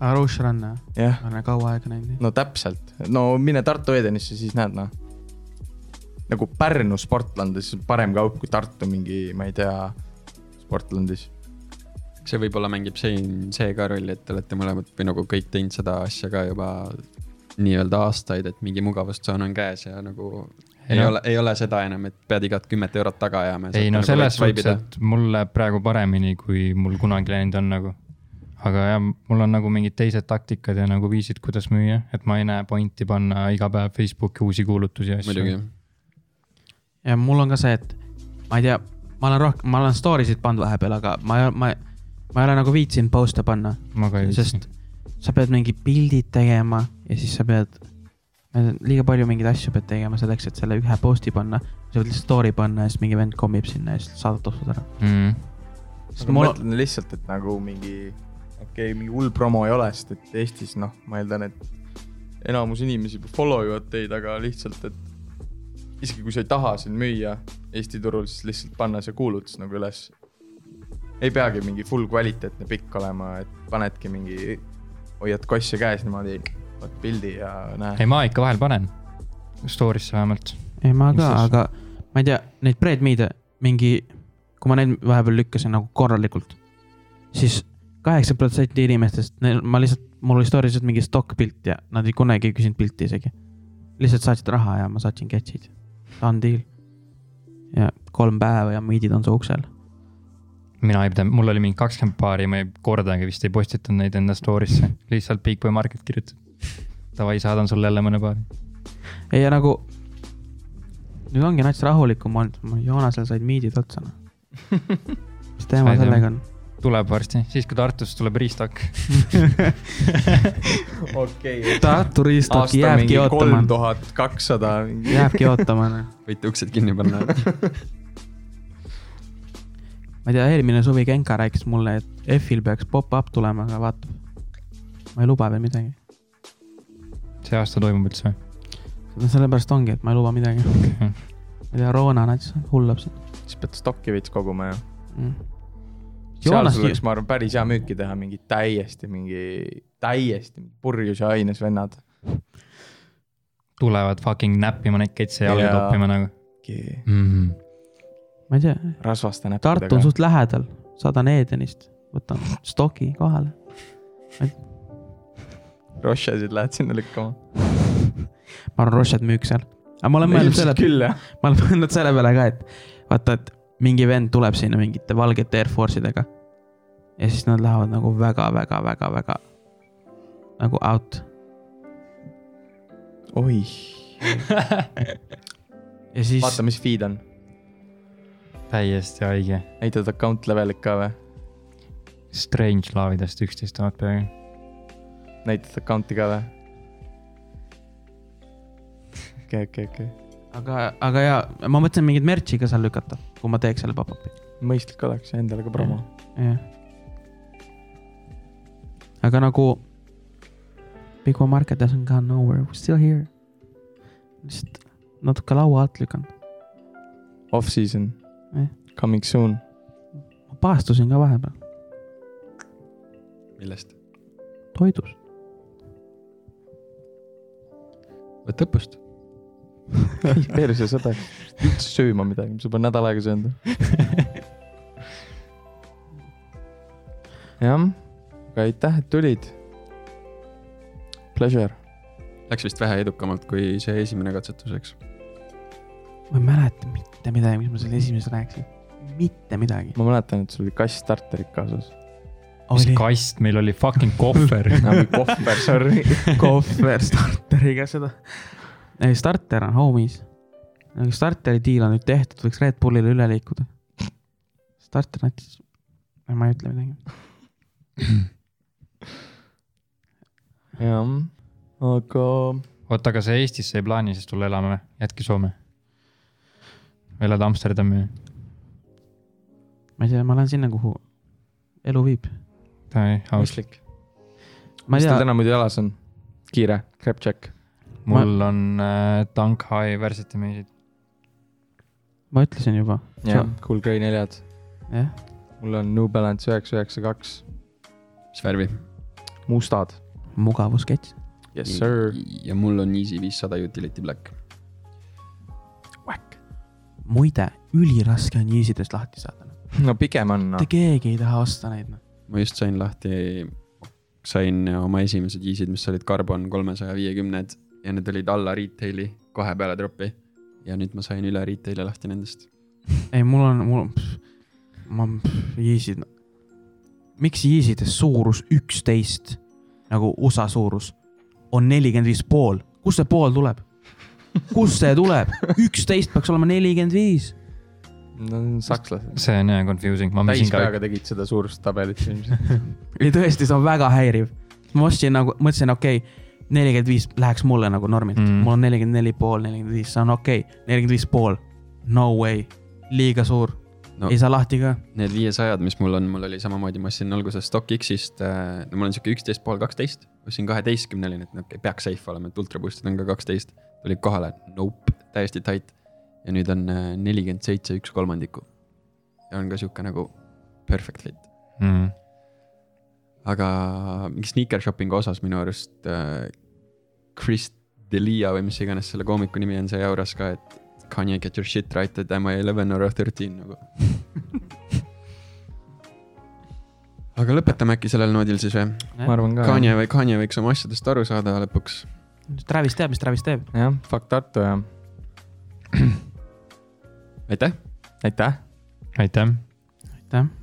Arush Run , ma jah , olen kaua aega näinud . no täpselt , no mine Tartu Edenisse , siis näed noh . nagu Pärnu Sportlandis on parem kaup kui Tartu mingi , ma ei tea , Sportlandis . see võib-olla mängib siin see ka rolli , et te olete mõlemad või nagu kõik teinud seda asja ka juba nii-öelda aastaid , et mingi mugavustsoon on käes ja nagu ei, ei no. ole , ei ole seda enam , et pead igat kümmet eurot taga ajama . nagu ei no selles suhtes ,. et mulle praegu paremini , kui mul kunagi läinud on nagu . aga jah , mul on nagu mingid teised taktikad ja nagu viisid , kuidas müüa , et ma ei näe pointi panna iga päev Facebooki uusi kuulutusi ja asju . muidugi . ja mul on ka see , et ma ei tea , ma olen rohkem , ma olen story sid pannud vahepeal , aga ma , ma , ma ei ole nagu viitsinud post'e panna , ma ka ei viitsi . sest sa pead mingi pildid tegema ja siis sa pead , liiga palju mingeid asju pead tegema selleks , et selle ühe post'i panna . sa pead lihtsalt story panna ja siis mingi vend kommib sinna ja siis saadad osad ära . Mm. sest ma mul , mõtlen lihtsalt , et nagu mingi , okei okay, , mingi hull promo ei ole , sest et Eestis noh , ma eeldan , et enamus inimesi follow ivad teid , aga lihtsalt , et isegi kui sa ei taha siin müüa Eesti turul , siis lihtsalt panna see kuulutus nagu üles . ei peagi mingi full kvaliteetne pikk olema , et panedki mingi , hoiad kossi käes niimoodi , võtad pildi ja näed . ei , ma ikka vahel panen , story'sse vähemalt . ei ma mis ka , asja? aga ma ei tea , neid bread me'e mingi , kui ma neid vahepeal lükkasin nagu korralikult , siis kaheksakümmend protsenti inimestest , neil , ma lihtsalt , mul oli story's mingi stokkpilt ja nad ei kunagi ei küsinud pilti isegi . lihtsalt saatsid raha ja ma saatsin catch'id , done deal . ja kolm päeva ja miidid on su uksel . mina ei pidanud , mul oli mingi kakskümmend paari , ma ei kordagi vist ei postitanud neid enda story'sse , lihtsalt Bigboy Market kirjutab . Davai , saadan sulle jälle mõne paari . ei , ja nagu nüüd ongi nats rahulikum olnud , Joonasel said miidid otsa . mis teema Said, jah. sellega on ? tuleb varsti , siis kui Tartus tuleb riistak . okei Tartu riistok aasta mingi jääbki ootama kolm , tuhat kakssada mingi . jääbki ootama noh. võite uksed kinni panna . ma ei tea , eelmine suvi Genka rääkis mulle , et F-il peaks pop-up tulema , aga vaata . ma ei luba veel midagi . see aasta toimub üldse või ? no sellepärast ongi , et ma ei luba midagi . ma ei tea , Roona nats hullab siin siis pead stokki veits koguma ju . mm. . seal Joonas sul , oleks , ma arvan , päris hea müüki teha , mingi täiesti mingi , täiesti mingi purjus ja aines vennad . tulevad fucking näppima neid ketse ja jalga Jaa. Mhm. toppima nagu mm. . ma ei tea , rasvaste Tartu on näppudega . suht lähedal , saadan Edenist , võtan stoki kohale . Rochesid lähed sinna lükkama . ma arvan , Rošet müük seal . aga ma olen mõelnud selle , küll jah . ma olen mõelnud selle peale ka , et vaata , et mingi vend tuleb sinna mingite valgete Air Force idega . ja siis nad lähevad nagu väga-väga-väga-väga nagu out oih , ja siis . vaata , mis feed on . täiesti haige . näitad account levelit ka või ? Strange laavidest üksteist tuhat peaaegu . näitad account'i ka või ? okei , okei , okei . aga , aga ja ma mõtlesin mingit merch'i ka seal lükata , kui ma teeks selle pop-up'i , mõistlik oleks endale ka promo . jah . aga nagu Big One Market doesn't go nowhere , we still here . lihtsalt natuke laua alt lükanud , Off-season Jah. . Coming soon . ma paastusin ka vahepeal millest ? toidus , võta õppust . perse sõda , üldse sööma midagi , mis sa pole nädal aega söönud . jah , aga aitäh , et tulid . Pleasure , Läks vist vähe edukamalt kui see esimene katsetus , eks . ma ei mäleta mitte midagi , mis ma seal esimeses rääkisin , mitte midagi . ma mäletan , et sul oli kass starterit kaasas . mis kast meil oli , fucking kohver . kohver , sorry . kohver starteriga seda . ei , starter on homies . aga starteri deal on nüüd tehtud , võiks Red Bullile üle liikuda . starter näitas , ma ei ütle midagi . jah , aga oota , aga sa Eestisse ei plaani siis tulla elama või ? jätke Soome . või elad Amsterdami või ? ma ei tea , ma lähen sinna , kuhu elu viib . Davai , aus . mõistlik . ma mis ei teil tea , täna muidu jalas on ? kiire , crap check . mul on äh, Tank High Varsity meisid . ma ütlesin juba , jah , Cool Grey neljad . jah . mul on New Balance üheksa , üheksa , kaks . mis värvi ? mustad . mugavusketš . Yes sir . ja mul on Easy viissada utility black . muide , üliraske on Yeezidest lahti saada . no pigem on noh. no. mitte . keegi ei taha osta neid , noh . ma just sain lahti , sain oma esimesed Easy'd , mis olid Carbon kolmesaja viiekümned ja need olid alla retail'i , kohe peale drop'i . ja nüüd ma sain üle retail'i lahti nendest . ei , mul on , mul on , ma , Yeezid . miks Yeezides suurus üksteist nagu USA suurus on nelikümmend viis pool , kust see pool tuleb ? kust see tuleb ? üksteist peaks olema nelikümmend viis . no sakslased . see on jah confusing , ma mõtlesin ka . täispeaga tegid seda suurustabelit ilmselt . ei tõesti , see on väga häiriv . ma ostsin nagu , mõtlesin , okei okay, , nelikümmend viis läheks mulle nagu normilt Mm. mm. , mul on nelikümmend neli pool , nelikümmend viis , see on okei okay. , nelikümmend viis pool , no way , liiga suur No. no. , ei saa lahti ka . Need viiesajad , mis mul on , mul oli samamoodi , ma ostsin alguses StockX-ist , no mul on sihuke üksteist pool kaksteist , ostsin kaheteistkümneline , et no okei, peaks safe olema , et ultraboost'id on ka kaksteist . tulid kohale , nope , täiesti tight . ja nüüd on äh, nelikümmend seitse , üks kolmandiku . ja on ka sihuke nagu perfect fit . Mm. aga mingi sneaker shopping'u osas minu arust äh, Chris Delia või mis iganes selle koomiku nimi on , see jauras ka , et can you get your shit right at am I eleven or thirteen nagu . aga lõpetame äkki sellel noodil siis või ? ma arvan ka . Kanye või Kanye võiks oma asjadest aru saada lõpuks . Travis teab , mis Travis teeb . jah , fuck Tartu ja aitäh , aitäh . aitäh . aitäh .